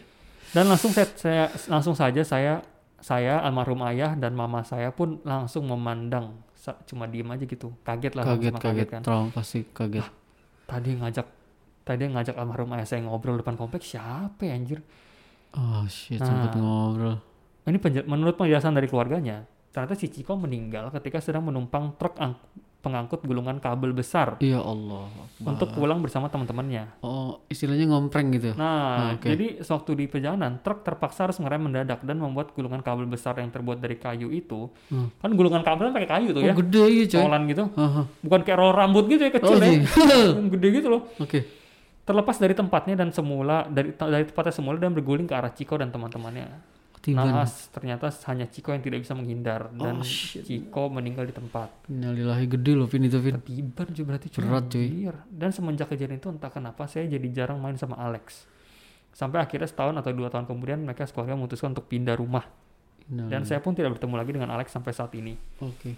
[SPEAKER 1] Dan langsung saya, saya langsung saja saya saya almarhum ayah dan mama saya pun langsung memandang Sa- cuma diem aja gitu kaget lah
[SPEAKER 2] Kaget,
[SPEAKER 1] sama-sama
[SPEAKER 2] kaget.
[SPEAKER 1] kan.
[SPEAKER 2] Trauma pasti kaget.
[SPEAKER 1] tadi yang ngajak tadi yang ngajak almarhum ayah saya ngobrol depan komplek siapa ya, anjir
[SPEAKER 2] Oh shit,
[SPEAKER 1] Nah.
[SPEAKER 2] sempet ngobrol.
[SPEAKER 1] ini penja- menurut penjelasan dari keluarganya ternyata si Ciko meninggal ketika sedang menumpang truk ang- pengangkut gulungan kabel besar
[SPEAKER 2] Ya Allah. Akbar.
[SPEAKER 1] untuk pulang bersama teman-temannya
[SPEAKER 2] Oh, istilahnya ngompreng gitu.
[SPEAKER 1] nah
[SPEAKER 2] oke.
[SPEAKER 1] jadi sewaktu di perjalanan truk terpaksa harus ngerem mendadak dan membuat gulungan kabel besar yang terbuat dari kayu itu
[SPEAKER 2] Hmm.
[SPEAKER 1] kan gulungan kabel kan pakai kayu tuh
[SPEAKER 2] Oh,
[SPEAKER 1] ya
[SPEAKER 2] gede ya, coy.
[SPEAKER 1] tolan gitu
[SPEAKER 2] Haha.
[SPEAKER 1] bukan kayak roll rambut gitu ya
[SPEAKER 2] Oh,
[SPEAKER 1] kecil ya
[SPEAKER 2] sih.
[SPEAKER 1] yang gede gitu loh
[SPEAKER 2] Oke.
[SPEAKER 1] terlepas dari tempatnya dan semula dari dari tempatnya semula dan berguling ke arah Ciko dan teman-temannya
[SPEAKER 2] Tiba.
[SPEAKER 1] Naas ternyata hanya Ciko yang tidak bisa menghindar dan
[SPEAKER 2] Oh, shit.
[SPEAKER 1] Ciko meninggal di tempat.
[SPEAKER 2] Nyalilahi gede loh Vin itu Vin.
[SPEAKER 1] Ketiban cuy berarti cuy.
[SPEAKER 2] Berat, cuy.
[SPEAKER 1] Anjir. Dan semenjak kejadian itu entah kenapa saya jadi jarang main sama Alex. Sampai akhirnya setahun atau dua tahun kemudian mereka sekeluarga memutuskan untuk pindah rumah. Dan
[SPEAKER 2] Innalillahi.
[SPEAKER 1] saya pun tidak bertemu lagi dengan Alex sampai saat ini.
[SPEAKER 2] Oke.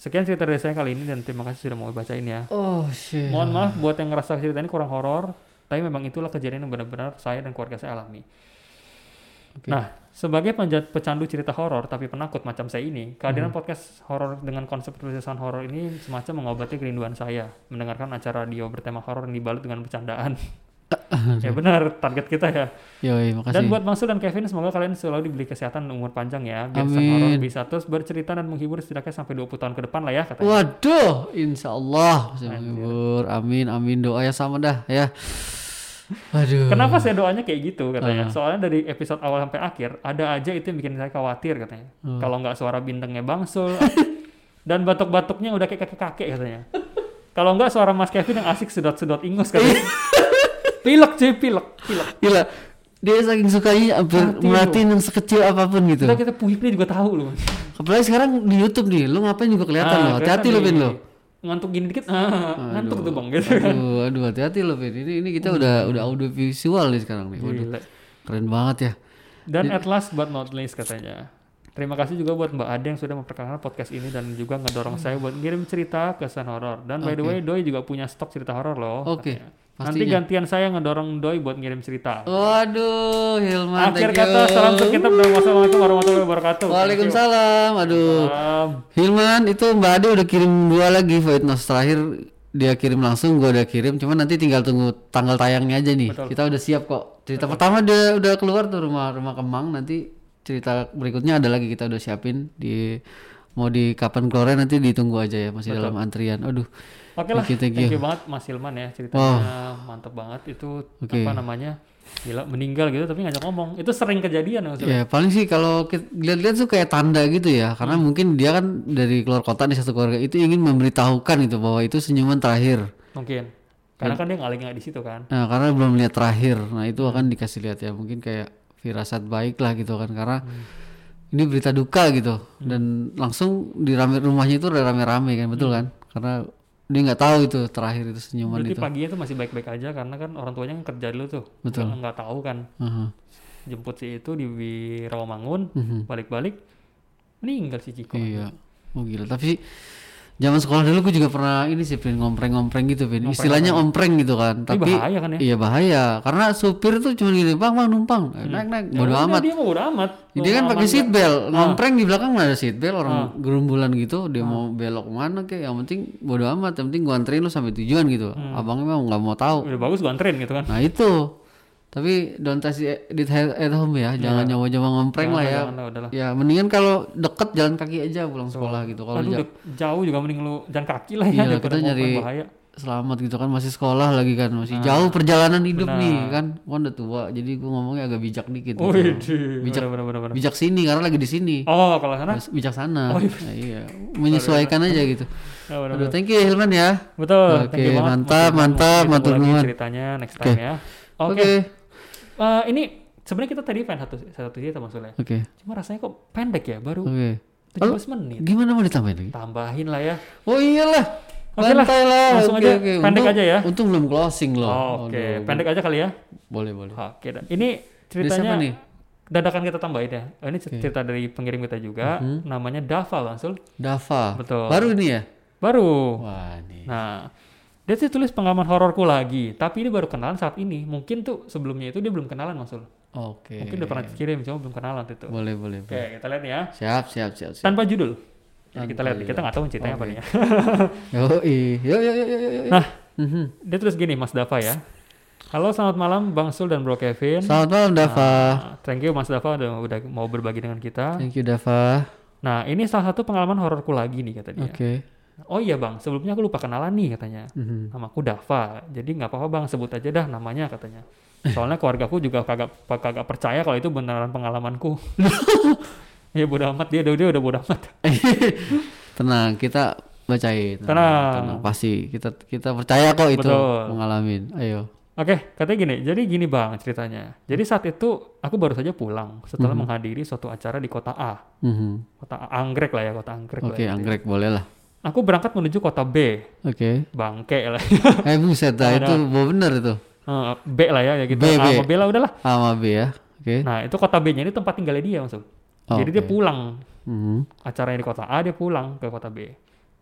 [SPEAKER 1] Sekian cerita dari saya kali ini dan terima kasih sudah mau bacain ya.
[SPEAKER 2] Oh shit.
[SPEAKER 1] Mohon maaf buat yang ngerasa cerita ini kurang horor, tapi memang itulah kejadian yang benar-benar saya dan keluarga saya alami.
[SPEAKER 2] Oke.
[SPEAKER 1] Nah, sebagai penja- pecandu cerita horor tapi penakut macam saya ini,
[SPEAKER 2] Hmm.
[SPEAKER 1] kehadiran podcast horor dengan konsep penulisan horor ini semacam mengobati kerinduan saya mendengarkan acara radio bertema horor yang dibalut dengan bercandaan. ya benar, target kita ya.
[SPEAKER 2] Yoi, makasih.
[SPEAKER 1] Dan buat Masul dan Kevin, semoga kalian selalu diberi kesehatan dan umur panjang ya. Biar sang
[SPEAKER 2] Amin.
[SPEAKER 1] horor bisa terus bercerita dan menghibur setidaknya sampai 20 tahun ke depan lah ya katanya.
[SPEAKER 2] Waduh, insya Allah bisa
[SPEAKER 1] Anjir.
[SPEAKER 2] menghibur. Amin, amin doa ya sama dah ya. Aduh.
[SPEAKER 1] Kenapa saya doanya kayak gitu katanya?
[SPEAKER 2] Hmm.
[SPEAKER 1] Soalnya dari episode awal sampai akhir ada aja itu yang bikin saya khawatir katanya.
[SPEAKER 2] Hmm.
[SPEAKER 1] Kalau nggak suara bintangnya Bang Sul dan batuk-batuknya udah kayak kakek-kakek katanya. Kalau enggak suara Mas Kevin yang asik sedot-sedot ingus kan. pilek cuy, pilek, pilek.
[SPEAKER 2] Gila. Dia saking sukanya hampir
[SPEAKER 1] Mati lu.
[SPEAKER 2] merhatiin yang sekecil apapun gitu.
[SPEAKER 1] Kita kita puiknya juga tahu loh.
[SPEAKER 2] Apalagi sekarang di YouTube nih, lu ngapain juga kelihatan
[SPEAKER 1] Ah,
[SPEAKER 2] loh. Hati-hati
[SPEAKER 1] kelihatan
[SPEAKER 2] lo Pin
[SPEAKER 1] nih.
[SPEAKER 2] lo.
[SPEAKER 1] Ngantuk gini dikit, ah, ngantuk tuh bang gitu kan.
[SPEAKER 2] Aduh, aduh hati-hati lo Pin. Ini ini kita udah udah audiovisual nih sekarang nih. Waduh,
[SPEAKER 1] Gila.
[SPEAKER 2] keren banget ya.
[SPEAKER 1] Dan at last but not least katanya. Terima kasih juga buat Mbak Ade yang sudah memperkenalkan podcast ini dan juga ngedorong saya buat ngirim cerita kesan horor. Dan by the way, Doi juga punya stok cerita horor loh.
[SPEAKER 2] Oke,
[SPEAKER 1] katanya. Nanti
[SPEAKER 2] pastinya.
[SPEAKER 1] gantian saya ngedorong Doi buat ngirim cerita.
[SPEAKER 2] Waduh, Hilman.
[SPEAKER 1] Akhir
[SPEAKER 2] Oh, thank
[SPEAKER 1] kata
[SPEAKER 2] you.
[SPEAKER 1] salam sekitar dan wassalamualaikum warahmatullahi wabarakatuh.
[SPEAKER 2] Waalaikumsalam. Aduh.
[SPEAKER 1] Salam.
[SPEAKER 2] Hilman itu Mbak Ade udah kirim dua lagi Void Notes terakhir dia kirim langsung gua udah kirim cuman nanti tinggal tunggu tanggal tayangnya aja nih kita udah siap kok cerita pertama dia udah keluar tuh rumah rumah kemang nanti cerita berikutnya ada lagi kita udah siapin di mau di kapan keluarnya nanti ditunggu aja ya masih dalam antrian aduh
[SPEAKER 1] Oke lah,
[SPEAKER 2] Thank you, thank
[SPEAKER 1] thank you banget Mas Hilman ya ceritanya mantep banget itu apa namanya gila meninggal gitu tapi ngajak ngomong itu sering kejadian maksudnya.
[SPEAKER 2] ya paling sih kalau ki- lihat-lihat tuh kayak tanda gitu ya karena mungkin dia kan dari keluar kota nih satu keluarga itu ingin memberitahukan itu bahwa itu senyuman terakhir
[SPEAKER 1] mungkin
[SPEAKER 2] Iya.
[SPEAKER 1] karena kan dia ngaling nggak di situ kan.
[SPEAKER 2] Nah, karena belum lihat terakhir. Nah, itu akan dikasih lihat ya. Mungkin kayak firasat baik lah gitu kan. Karena
[SPEAKER 1] Hmm.
[SPEAKER 2] ini berita duka gitu. Dan langsung di rame rumahnya itu udah rame-rame kan,
[SPEAKER 1] Hmm.
[SPEAKER 2] betul kan? Karena dia nggak tahu itu terakhir itu senyuman
[SPEAKER 1] Berarti
[SPEAKER 2] itu.
[SPEAKER 1] paginya tuh masih baik-baik aja karena kan orang tuanya kan kerja dulu tuh. Betul. Nggak, nggak tahu kan.
[SPEAKER 2] Aha.
[SPEAKER 1] Jemput si itu di, di Rawamangun,
[SPEAKER 2] Mhm.
[SPEAKER 1] balik-balik meninggal si Ciko.
[SPEAKER 2] Iya. Oh gila. Tapi zaman sekolah dulu gue juga pernah ini sih Pin, ngompreng-ngompreng gitu Pin. Istilahnya ompreng gitu kan.
[SPEAKER 1] Ini
[SPEAKER 2] Tapi
[SPEAKER 1] bahaya kan ya.
[SPEAKER 2] iya bahaya. Karena supir tuh cuma gini, "Bang, bang numpang."
[SPEAKER 1] Iya.
[SPEAKER 2] Eh, Naik, naik. Bodoh
[SPEAKER 1] Udah,
[SPEAKER 2] amat.
[SPEAKER 1] Dia mau udah amat.
[SPEAKER 2] Dia kan pakai seat
[SPEAKER 1] Ah.
[SPEAKER 2] belt, ngompreng di belakang nggak ada seat belt, orang gerumbulan gitu, dia mau belok mana kek, yang penting bodo amat, yang penting gua anterin lu sampai tujuan gitu.
[SPEAKER 1] Hmm.
[SPEAKER 2] Abangnya memang nggak mau tahu.
[SPEAKER 1] Udah bagus gua anterin gitu kan.
[SPEAKER 2] Nah itu, tapi don't test it it at home ya, jangan nyoba-nyoba ngompreng lah ya.
[SPEAKER 1] Iya. Jangan lah, udah lah.
[SPEAKER 2] Ya mendingan kalau deket jalan kaki aja pulang sekolah gitu. Kalau
[SPEAKER 1] Aduh,
[SPEAKER 2] ja-
[SPEAKER 1] udah jauh juga mending lu jalan kaki lah
[SPEAKER 2] Iya,
[SPEAKER 1] ya daripada
[SPEAKER 2] kita
[SPEAKER 1] ngomong
[SPEAKER 2] nyari-
[SPEAKER 1] bahaya.
[SPEAKER 2] selamat gitu kan masih sekolah lagi kan,
[SPEAKER 1] Ah.
[SPEAKER 2] masih jauh perjalanan hidup nih kan, gua udah tua, jadi gua ngomongnya agak bijak dikit. gitu.
[SPEAKER 1] Wih,
[SPEAKER 2] Bijak.
[SPEAKER 1] bener, bener, bener, bener.
[SPEAKER 2] Bijak sini karena lagi di sini.
[SPEAKER 1] Oh, kalau sana.
[SPEAKER 2] Harus
[SPEAKER 1] Oh,
[SPEAKER 2] bijaksana. Nah, iya, menyesuaikan aja gitu.
[SPEAKER 1] Ya, bener,
[SPEAKER 2] Aduh, thank you ya Hilman ya.
[SPEAKER 1] Betul.
[SPEAKER 2] Oke,
[SPEAKER 1] thank you banget.
[SPEAKER 2] mantap,
[SPEAKER 1] Mungkin-
[SPEAKER 2] mantap,
[SPEAKER 1] mungkin
[SPEAKER 2] mantap
[SPEAKER 1] lagi
[SPEAKER 2] banget.
[SPEAKER 1] Ceritanya next time ya. Oke.
[SPEAKER 2] Oke.
[SPEAKER 1] Eh, ini sebenarnya kita tadi pengen satu satu cerita maksudnya.
[SPEAKER 2] Oke.
[SPEAKER 1] Cuma rasanya kok pendek ya, baru
[SPEAKER 2] Oke.
[SPEAKER 1] 17 menit.
[SPEAKER 2] Gimana mau ditambahin lagi?
[SPEAKER 1] Tambahin lah ya.
[SPEAKER 2] Oh iyalah.
[SPEAKER 1] Oke lah,
[SPEAKER 2] Bantai lah.
[SPEAKER 1] langsung
[SPEAKER 2] Oke,
[SPEAKER 1] aja,
[SPEAKER 2] oke.
[SPEAKER 1] pendek
[SPEAKER 2] Untung-
[SPEAKER 1] aja ya.
[SPEAKER 2] Untung belum closing loh.
[SPEAKER 1] Oh, Oke,
[SPEAKER 2] Aduh,
[SPEAKER 1] pendek aja kali ya.
[SPEAKER 2] Boleh, boleh.
[SPEAKER 1] Oke, dah. ini
[SPEAKER 2] siapa
[SPEAKER 1] ceritanya
[SPEAKER 2] nih?
[SPEAKER 1] dadakan kita tambahin ya. Oh, Ini cerita dari pengirim kita juga,
[SPEAKER 2] Mhm.
[SPEAKER 1] namanya Dava Bang Sul.
[SPEAKER 2] Dava.
[SPEAKER 1] Betul.
[SPEAKER 2] Baru ini ya?
[SPEAKER 1] Baru.
[SPEAKER 2] Wah, ini.
[SPEAKER 1] Nah, dia sih tulis pengalaman hororku lagi, tapi dia baru kenalan saat ini. Mungkin tuh sebelumnya itu dia belum kenalan Bang Sul.
[SPEAKER 2] Oke.
[SPEAKER 1] Mungkin udah pernah kirim, cuma belum kenalan waktu itu.
[SPEAKER 2] Boleh, boleh. boleh.
[SPEAKER 1] Oke, kita lihat nih ya.
[SPEAKER 2] Siap, siap, siap, siap.
[SPEAKER 1] Tanpa judul. Jadi kita lihat, nih, kita nggak tahu ceritanya apa nih ya.
[SPEAKER 2] Yoi. Yo, yo, yo, yo, yo, yo.
[SPEAKER 1] Nah,
[SPEAKER 2] Mhm.
[SPEAKER 1] dia terus gini Mas Dava ya. Halo, selamat malam Bang Sul dan Bro Kevin.
[SPEAKER 2] Selamat malam Dava.
[SPEAKER 1] Nah, Thank you Mas Dava udah, udah mau berbagi dengan kita.
[SPEAKER 2] Thank you Dava.
[SPEAKER 1] Nah ini salah satu pengalaman hororku lagi nih katanya.
[SPEAKER 2] Oke.
[SPEAKER 1] Oh iya bang, sebelumnya aku lupa kenalan nih katanya.
[SPEAKER 2] Mhm.
[SPEAKER 1] Namaku Dava, jadi nggak apa-apa bang sebut aja dah namanya katanya. Soalnya keluargaku juga kagak kagak percaya kalau itu beneran pengalamanku. ya bodoh amat dia, dia udah bodoh amat.
[SPEAKER 2] tenang kita bacain
[SPEAKER 1] Tenang.
[SPEAKER 2] pasti kita kita percaya kok itu
[SPEAKER 1] Betul.
[SPEAKER 2] mengalamin ayo
[SPEAKER 1] Oke, katanya gini. Jadi gini bang ceritanya. Jadi saat itu aku baru saja pulang setelah menghadiri suatu acara di kota A,
[SPEAKER 2] Mhm.
[SPEAKER 1] kota A, anggrek lah ya, kota anggrek. lah
[SPEAKER 2] oke
[SPEAKER 1] ya.
[SPEAKER 2] anggrek boleh lah
[SPEAKER 1] Aku berangkat menuju kota B,
[SPEAKER 2] oke
[SPEAKER 1] bangke lah,
[SPEAKER 2] eh buset dah itu bo- bener itu
[SPEAKER 1] Eh, B lah ya, ya gitu. A
[SPEAKER 2] B, B.
[SPEAKER 1] sama B lah udahlah.
[SPEAKER 2] A sama B ya oke
[SPEAKER 1] Nah itu kota B-nya ini tempat tinggalnya dia maksud.
[SPEAKER 2] Oh,
[SPEAKER 1] Nah, Jadi dia
[SPEAKER 2] oke.
[SPEAKER 1] pulang
[SPEAKER 2] Mhm.
[SPEAKER 1] acaranya di kota A dia pulang ke kota B.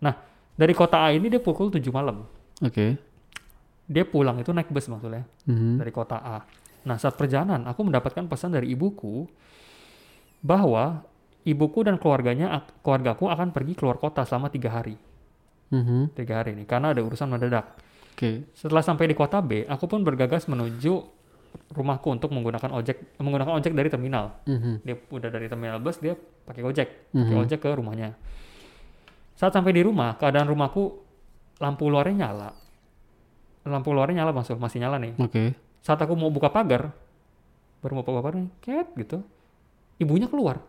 [SPEAKER 1] Nah dari kota A ini dia pukul 7 malam.
[SPEAKER 2] oke
[SPEAKER 1] Dia pulang itu naik bus maksudnya
[SPEAKER 2] Mhm.
[SPEAKER 1] dari kota A. Nah saat perjalanan aku mendapatkan pesan dari ibuku bahwa ibuku dan keluarganya ak- keluargaku akan pergi keluar kota selama tiga hari
[SPEAKER 2] Mhm.
[SPEAKER 1] tiga hari ini karena ada urusan mendadak.
[SPEAKER 2] oke
[SPEAKER 1] Setelah sampai di kota B, aku pun bergegas menuju rumahku untuk menggunakan ojek menggunakan ojek dari terminal.
[SPEAKER 2] Mhm.
[SPEAKER 1] dia udah dari terminal bus dia pakai gojek pakai ojek ke rumahnya saat sampai di rumah keadaan rumahku lampu luarnya nyala lampu luarnya nyala masuk masih nyala nih
[SPEAKER 2] oke
[SPEAKER 1] saat aku mau buka pagar baru mau buka pagar ket gitu ibunya keluar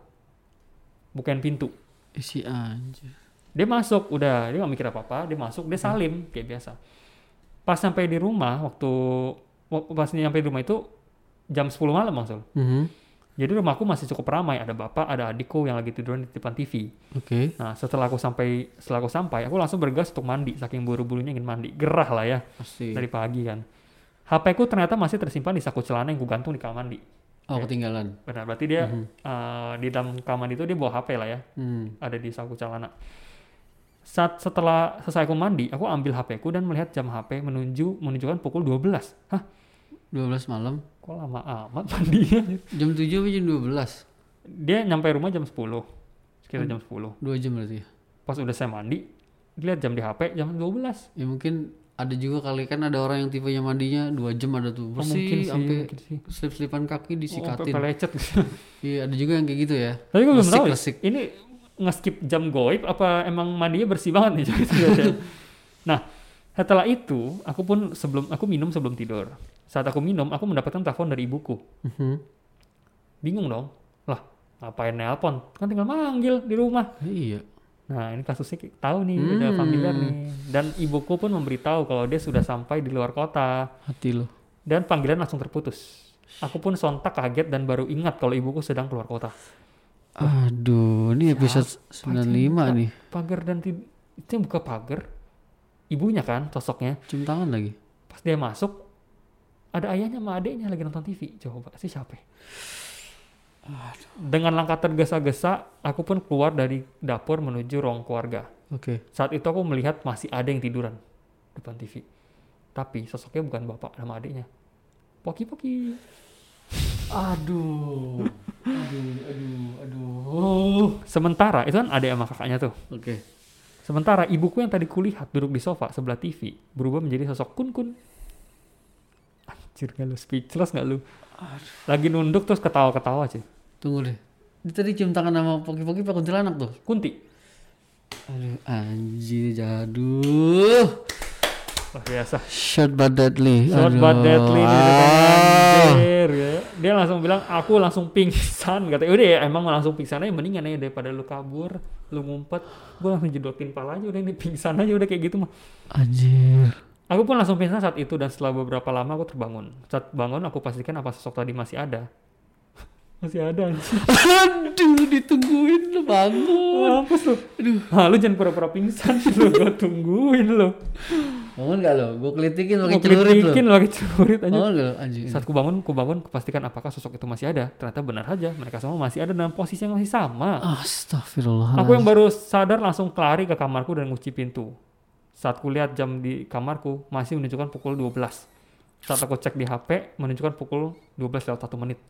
[SPEAKER 1] bukain pintu
[SPEAKER 2] isi anjir
[SPEAKER 1] Dia masuk, udah dia nggak mikir apa-apa, dia masuk, dia salim kayak biasa. Pas sampai di rumah waktu wak- pas nyampe di rumah itu jam 10 malam maksud.
[SPEAKER 2] Mhm.
[SPEAKER 1] Jadi rumahku masih cukup ramai, ada bapak, ada adikku yang lagi tiduran di depan TV.
[SPEAKER 2] Oke.
[SPEAKER 1] Nah, setelah aku sampai setelah aku sampai, aku langsung bergegas untuk mandi saking buru-burunya ingin mandi. Gerah lah ya
[SPEAKER 2] Pasti.
[SPEAKER 1] dari pagi kan. HP ku ternyata masih tersimpan di saku celana yang ku gantung di kamar mandi.
[SPEAKER 2] Oh ketinggalan.
[SPEAKER 1] Benar, berarti dia eh, di dalam kamar mandi itu dia bawa HP lah ya,
[SPEAKER 2] Hmm.
[SPEAKER 1] ada di saku celana. Saat setelah selesai aku mandi, aku ambil HP ku dan melihat jam HP menuju menunjukkan pukul 12. Hah,
[SPEAKER 2] 12 malam.
[SPEAKER 1] kok lama amat mandinya?
[SPEAKER 2] Jam 7 apa jam 12?
[SPEAKER 1] Dia nyampe rumah jam 10. Sekitar jam 10.
[SPEAKER 2] 2 jam berarti ya?
[SPEAKER 1] Pas udah saya mandi, lihat jam di HP jam 12.
[SPEAKER 2] Ya mungkin ada juga kali kan ada orang yang tipenya mandinya 2 jam ada tuh
[SPEAKER 1] Oh, mungkin
[SPEAKER 2] bersih
[SPEAKER 1] sih,
[SPEAKER 2] sampai
[SPEAKER 1] mungkin sih.
[SPEAKER 2] selip-selipan kaki
[SPEAKER 1] Oh,
[SPEAKER 2] disikatin.
[SPEAKER 1] sampai lecet.
[SPEAKER 2] Iya, ada juga yang kayak gitu ya.
[SPEAKER 1] Tapi gue belum tahu. ya,
[SPEAKER 2] Lesik-lesik.
[SPEAKER 1] Ini nge-skip jam goib apa emang mandinya bersih banget nih? Jadi tidak- nah, setelah itu aku pun sebelum aku minum sebelum tidur. Saat aku minum, aku mendapatkan telepon dari ibuku.
[SPEAKER 2] Mhm.
[SPEAKER 1] Bingung dong. Lah, ngapain nelpon? Kan tinggal manggil di rumah.
[SPEAKER 2] Iya.
[SPEAKER 1] Nah, ini kasusnya ki- tahu nih, udah
[SPEAKER 2] Hmm.
[SPEAKER 1] familiar nih. Dan ibuku pun memberitahu kalau dia sudah sampai di luar kota
[SPEAKER 2] Hati lo.
[SPEAKER 1] dan panggilan langsung terputus. Aku pun sontak kaget dan baru ingat kalau ibuku sedang keluar kota.
[SPEAKER 2] Aduh, ini episode 95 nih.
[SPEAKER 1] pagar dan tid- itu yang buka pagar ibunya kan sosoknya
[SPEAKER 2] Cium tangan lagi.
[SPEAKER 1] pas dia masuk ada ayahnya sama adiknya lagi nonton TV coba sih siapa ya? dengan langkah tergesa-gesa aku pun keluar dari dapur menuju ruang keluarga
[SPEAKER 2] Oke.
[SPEAKER 1] saat itu aku melihat masih ada yang tiduran depan TV tapi sosoknya bukan bapak sama adiknya poki-poki
[SPEAKER 2] Aduh. Aduh, aduh, aduh.
[SPEAKER 1] sementara itu kan adik sama kakaknya tuh
[SPEAKER 2] Oke.
[SPEAKER 1] Sementara ibuku yang tadi kulihat duduk di sofa sebelah TV berubah menjadi sosok kun-kun. Anjir gak lu speechless gak lu? Lagi nunduk terus ketawa-ketawa sih.
[SPEAKER 2] Tunggu deh. Dia tadi cium tangan sama poki-poki Pak Kuntilanak tuh.
[SPEAKER 1] Kunti.
[SPEAKER 2] Aduh, anjir jaduh.
[SPEAKER 1] Luar biasa.
[SPEAKER 2] Shot but deadly.
[SPEAKER 1] Short
[SPEAKER 2] Aduh.
[SPEAKER 1] but deadly nih, dia kan,
[SPEAKER 2] Ah.
[SPEAKER 1] anjir, ya. Dia langsung bilang, aku langsung pingsan. Kata, udah ya emang langsung pingsan aja mendingan ya daripada lu kabur, lu ngumpet. Gue langsung jedotin palanya udah ini pingsan aja udah kayak gitu mah.
[SPEAKER 2] Anjir.
[SPEAKER 1] Aku pun langsung pingsan saat itu dan setelah beberapa lama aku terbangun. Saat bangun aku pastikan apa sosok tadi masih ada. masih ada anjir.
[SPEAKER 2] Aduh, ditungguin lu bangun.
[SPEAKER 1] Mampus lu. Aduh. Nah, lu jangan pura-pura pingsan lu. Gue tungguin lu.
[SPEAKER 2] Bangun gak lo? Gue kelitikin pakai
[SPEAKER 1] Gua
[SPEAKER 2] celurit lu. Oh.
[SPEAKER 1] kritikin lu pakai celurit aja.
[SPEAKER 2] Bangun gak lo? Anjir.
[SPEAKER 1] Saat ku bangun, ku bangun, kupastikan apakah sosok itu masih ada. Ternyata benar saja, mereka semua masih ada dalam posisi yang masih sama.
[SPEAKER 2] Astagfirullah.
[SPEAKER 1] Aku yang baru sadar langsung lari ke kamarku dan kunci pintu. Saat kulihat jam di kamarku, masih menunjukkan pukul 12. Saat aku cek di HP, menunjukkan pukul 12 lewat 1 menit.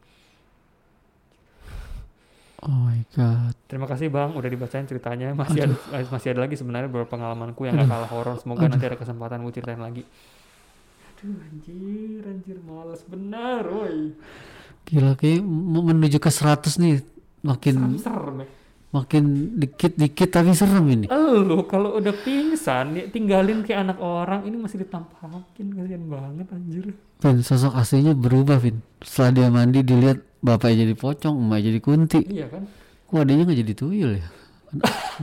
[SPEAKER 2] Oh my god.
[SPEAKER 1] Terima kasih Bang udah dibacain ceritanya. Masih ada eh, masih ada lagi sebenarnya beberapa pengalamanku yang gak kalah horor. Semoga nanti ada kesempatan gue ceritain lagi. Aduh anjir, anjir males benar, woi.
[SPEAKER 2] Gila kayak m- menuju ke 100 nih makin
[SPEAKER 1] Serem. ya.
[SPEAKER 2] makin dikit-dikit tapi serem ini.
[SPEAKER 1] Elu kalau udah pingsan ya tinggalin kayak anak orang, ini masih ditampakin kasihan banget anjir.
[SPEAKER 2] Vin, sosok aslinya berubah, Vin. Setelah dia mandi dilihat bapaknya jadi pocong, emaknya jadi kunti.
[SPEAKER 1] Iya kan?
[SPEAKER 2] Kok adanya nggak jadi tuyul ya?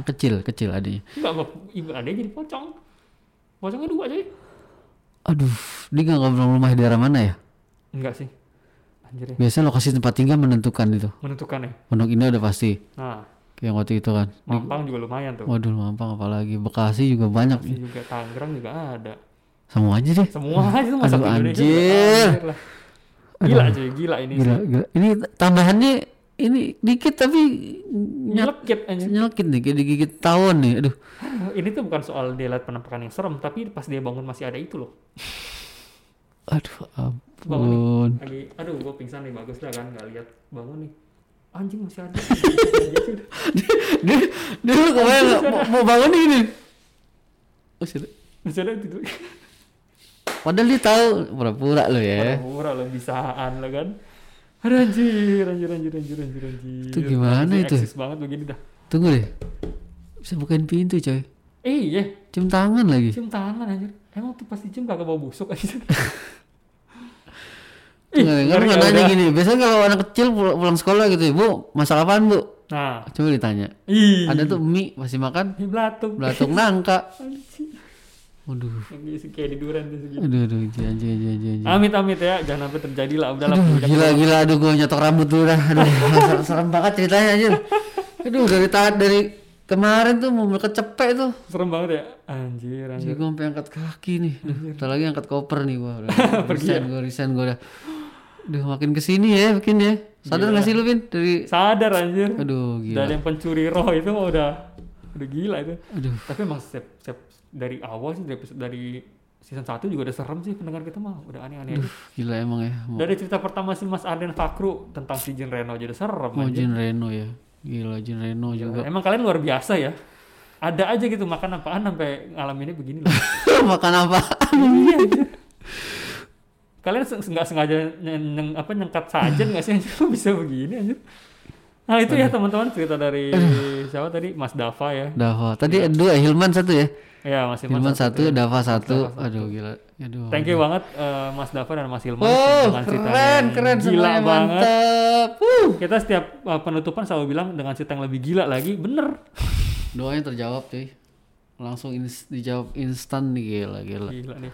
[SPEAKER 2] kecil, kecil adanya.
[SPEAKER 1] Enggak Bang. ibu ada jadi pocong. Pocongnya dua aja.
[SPEAKER 2] Aduh, dia nggak ngobrol rumah di daerah mana ya?
[SPEAKER 1] Enggak sih. Anjir ya.
[SPEAKER 2] Biasanya lokasi tempat tinggal menentukan itu.
[SPEAKER 1] Menentukan ya.
[SPEAKER 2] Pondok Indah udah pasti.
[SPEAKER 1] Nah,
[SPEAKER 2] Kayak waktu itu kan.
[SPEAKER 1] Mampang juga lumayan tuh.
[SPEAKER 2] Waduh, Mampang apalagi. Bekasi juga banyak.
[SPEAKER 1] Bekasi juga Tangerang juga ada.
[SPEAKER 2] Semua aja deh.
[SPEAKER 1] Semua itu masa
[SPEAKER 2] Aduh,
[SPEAKER 1] Indonesia
[SPEAKER 2] anjir.
[SPEAKER 1] juga, lah. Gila cuy, gila ini.
[SPEAKER 2] Gila, gila. Ini tambahannya ini dikit tapi
[SPEAKER 1] Nyelekit anjir.
[SPEAKER 2] nyelekit nih kayak digigit tawon nih. Aduh.
[SPEAKER 1] Ini tuh bukan soal dia lihat penampakan yang serem, tapi pas dia bangun masih ada itu loh.
[SPEAKER 2] Aduh,
[SPEAKER 1] Bangun
[SPEAKER 2] ampun.
[SPEAKER 1] Lagi, aduh gue pingsan nih, bagus dah kan, gak lihat bangun nih. Anjing masih ada.
[SPEAKER 2] dia dia lu kemarin nggak- mau, mau bangun nih gini. Oh, sudah.
[SPEAKER 1] masih ada itu.
[SPEAKER 2] Padahal dia tahu pura-pura lo ya.
[SPEAKER 1] Murah lo, bisaan lo kan. Aduh anjir, anjir, anjir, anjir, anjir, anjir.
[SPEAKER 2] Itu gimana
[SPEAKER 1] Anjing
[SPEAKER 2] itu?
[SPEAKER 1] eksis banget begini dah.
[SPEAKER 2] Tunggu deh. Bisa bukain pintu, coy.
[SPEAKER 1] Eh iya,
[SPEAKER 2] Cium tangan lagi.
[SPEAKER 1] cium tangan anjir. Emang tuh pasti cium kagak bau busuk anjir.
[SPEAKER 2] Enggak, enggak
[SPEAKER 1] ngeri,
[SPEAKER 2] nanya
[SPEAKER 1] udah.
[SPEAKER 2] gini. Biasanya kalau anak kecil pul- pulang sekolah gitu, ya, "Bu, masak apaan, Bu?"
[SPEAKER 1] Nah,
[SPEAKER 2] Coba ditanya.
[SPEAKER 1] ih.
[SPEAKER 2] Ada tuh mie masih makan
[SPEAKER 1] Ih, belatung.
[SPEAKER 2] belatung nangka. Waduh.
[SPEAKER 1] Yang isi kayak di duren tuh segitu.
[SPEAKER 2] Aduh aduh anjir anjir anjir anjir. anjir.
[SPEAKER 1] Amit amit ya, jangan sampai terjadi lah. Udah lah,
[SPEAKER 2] Aduh,
[SPEAKER 1] puncak
[SPEAKER 2] gila gila aduh gua nyetok rambut dulu dah. Aduh serem, serem banget ceritanya anjir. Aduh dari taat dari kemarin tuh mau kecepek tuh.
[SPEAKER 1] serem banget ya. Anjir,
[SPEAKER 2] Jadi
[SPEAKER 1] anjir.
[SPEAKER 2] gue sampai angkat kaki nih. Duh, bentar lagi angkat koper nih gua. Udah, resign gua, resign gua udah. Duh, makin ke sini ya, makin ya. Sadar nggak sih lu, Vin? Dari
[SPEAKER 1] Sadar anjir.
[SPEAKER 2] aduh
[SPEAKER 1] Udah ada
[SPEAKER 2] gila.
[SPEAKER 1] yang pencuri roh itu mah udah udah gila itu.
[SPEAKER 2] Aduh.
[SPEAKER 1] Tapi emang setiap, setiap dari awal sih dari, episode- dari season 1 juga udah serem sih pendengar kita mah udah aneh-aneh aja.
[SPEAKER 2] Gila emang ya. Mau,
[SPEAKER 1] Dari cerita pertama si Mas Arden Fakru tentang si Jin Reno jadi serem
[SPEAKER 2] mau
[SPEAKER 1] aja.
[SPEAKER 2] Jin Reno ya. Gila Jin Reno juga.
[SPEAKER 1] Emang kalian luar biasa ya. Ada aja gitu makan apaan sampai ngalaminnya begini loh.
[SPEAKER 2] Makan apa?
[SPEAKER 1] Iya, anjir. Kalian se- nggak sengaja nyen, nyen- apa nyengkat saja nggak sih anjir? Kok bisa begini anjir? Nah itu ya teman-teman cerita dari siapa tadi Mas Dava ya.
[SPEAKER 2] Dava. Tadi dua Hilman satu ya.
[SPEAKER 1] Ya Mas Hilman.
[SPEAKER 2] Hilman satu, Dava satu. Aduh gila. Aduh.
[SPEAKER 1] Thank you banget eh, Mas Dava dan Mas Hilman
[SPEAKER 2] Oh,
[SPEAKER 1] dengan cerita
[SPEAKER 2] keren,
[SPEAKER 1] yang
[SPEAKER 2] keren
[SPEAKER 1] gila
[SPEAKER 2] semuanya
[SPEAKER 1] banget.
[SPEAKER 2] mantep. Wuh.
[SPEAKER 1] Kita setiap eh, penutupan selalu bilang dengan cerita yang lebih gila lagi, bener.
[SPEAKER 2] Doanya terjawab, cuy. Langsung ins- dijawab instan nih gila gila.
[SPEAKER 1] Gila nih.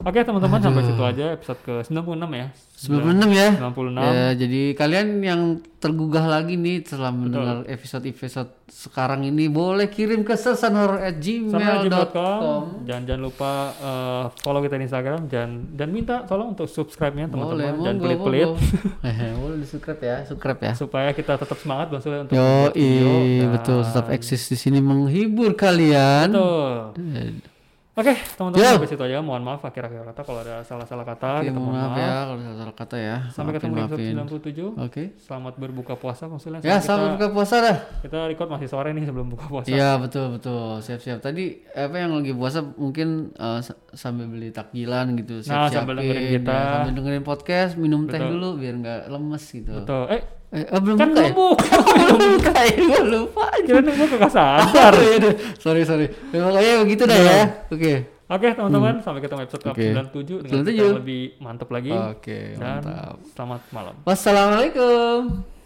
[SPEAKER 1] Oke teman-teman sampai situ aja episode ke 96 ya.
[SPEAKER 2] 96 ya.
[SPEAKER 1] 96.
[SPEAKER 2] Ya, jadi kalian yang tergugah lagi nih setelah mendengar episode-episode sekarang ini boleh kirim ke
[SPEAKER 1] sama
[SPEAKER 2] sersanhorror@gmail.com.
[SPEAKER 1] gmail.com dan jangan lupa eh, follow kita di Instagram dan dan minta tolong untuk subscribe-nya
[SPEAKER 2] Boleh,
[SPEAKER 1] teman-teman dan
[SPEAKER 2] monggo,
[SPEAKER 1] pelit-pelit
[SPEAKER 2] monggo. Eh, boleh di subscribe ya, subscribe ya.
[SPEAKER 1] supaya kita tetap semangat Bang Sule untuk
[SPEAKER 2] Yo,
[SPEAKER 1] membuat video dan-
[SPEAKER 2] betul tetap eksis di sini menghibur kalian. Eh,
[SPEAKER 1] Betul.
[SPEAKER 2] Dan-
[SPEAKER 1] Oke, teman-teman
[SPEAKER 2] Yo.
[SPEAKER 1] sampai situ aja. Mohon maaf akhir-akhir kata kalau ada salah-salah kata kita
[SPEAKER 2] Oke, mohon
[SPEAKER 1] mohon
[SPEAKER 2] maaf
[SPEAKER 1] maaf.
[SPEAKER 2] ya kalau salah kata ya.
[SPEAKER 1] Sampai ketemu di
[SPEAKER 2] Maafin,
[SPEAKER 1] episode
[SPEAKER 2] maafin.
[SPEAKER 1] 97.
[SPEAKER 2] Oke.
[SPEAKER 1] Selamat berbuka puasa Bang Sule.
[SPEAKER 2] Ya,
[SPEAKER 1] Sekarang
[SPEAKER 2] selamat buka puasa dah.
[SPEAKER 1] kita, kita record masih sore nih sebelum buka puasa.
[SPEAKER 2] Iya betul betul siap-siap tadi apa yang lagi puasa mungkin eh, s- sambil beli takjilan gitu
[SPEAKER 1] Nah,
[SPEAKER 2] siap-siapin
[SPEAKER 1] sambil dengerin kita.
[SPEAKER 2] ya, sambil dengerin podcast minum teh dulu biar nggak lemes gitu
[SPEAKER 1] Betul. Eh,
[SPEAKER 2] eh, ah, belum
[SPEAKER 1] kan
[SPEAKER 2] buka ya
[SPEAKER 1] belum buka.
[SPEAKER 2] belum buka ya gue lupa
[SPEAKER 1] Kira nunggu kagak sadar.
[SPEAKER 2] Oh, iya deh. sorry sorry Ya, pokoknya begitu dah ya oke
[SPEAKER 1] Oke, teman-teman, sampai ketemu episode
[SPEAKER 2] Hmm. Oke.
[SPEAKER 1] 97 dengan cerita
[SPEAKER 2] 97.
[SPEAKER 1] yang lebih mantap lagi.
[SPEAKER 2] oke
[SPEAKER 1] dan
[SPEAKER 2] mantap
[SPEAKER 1] selamat malam.
[SPEAKER 2] wassalamualaikum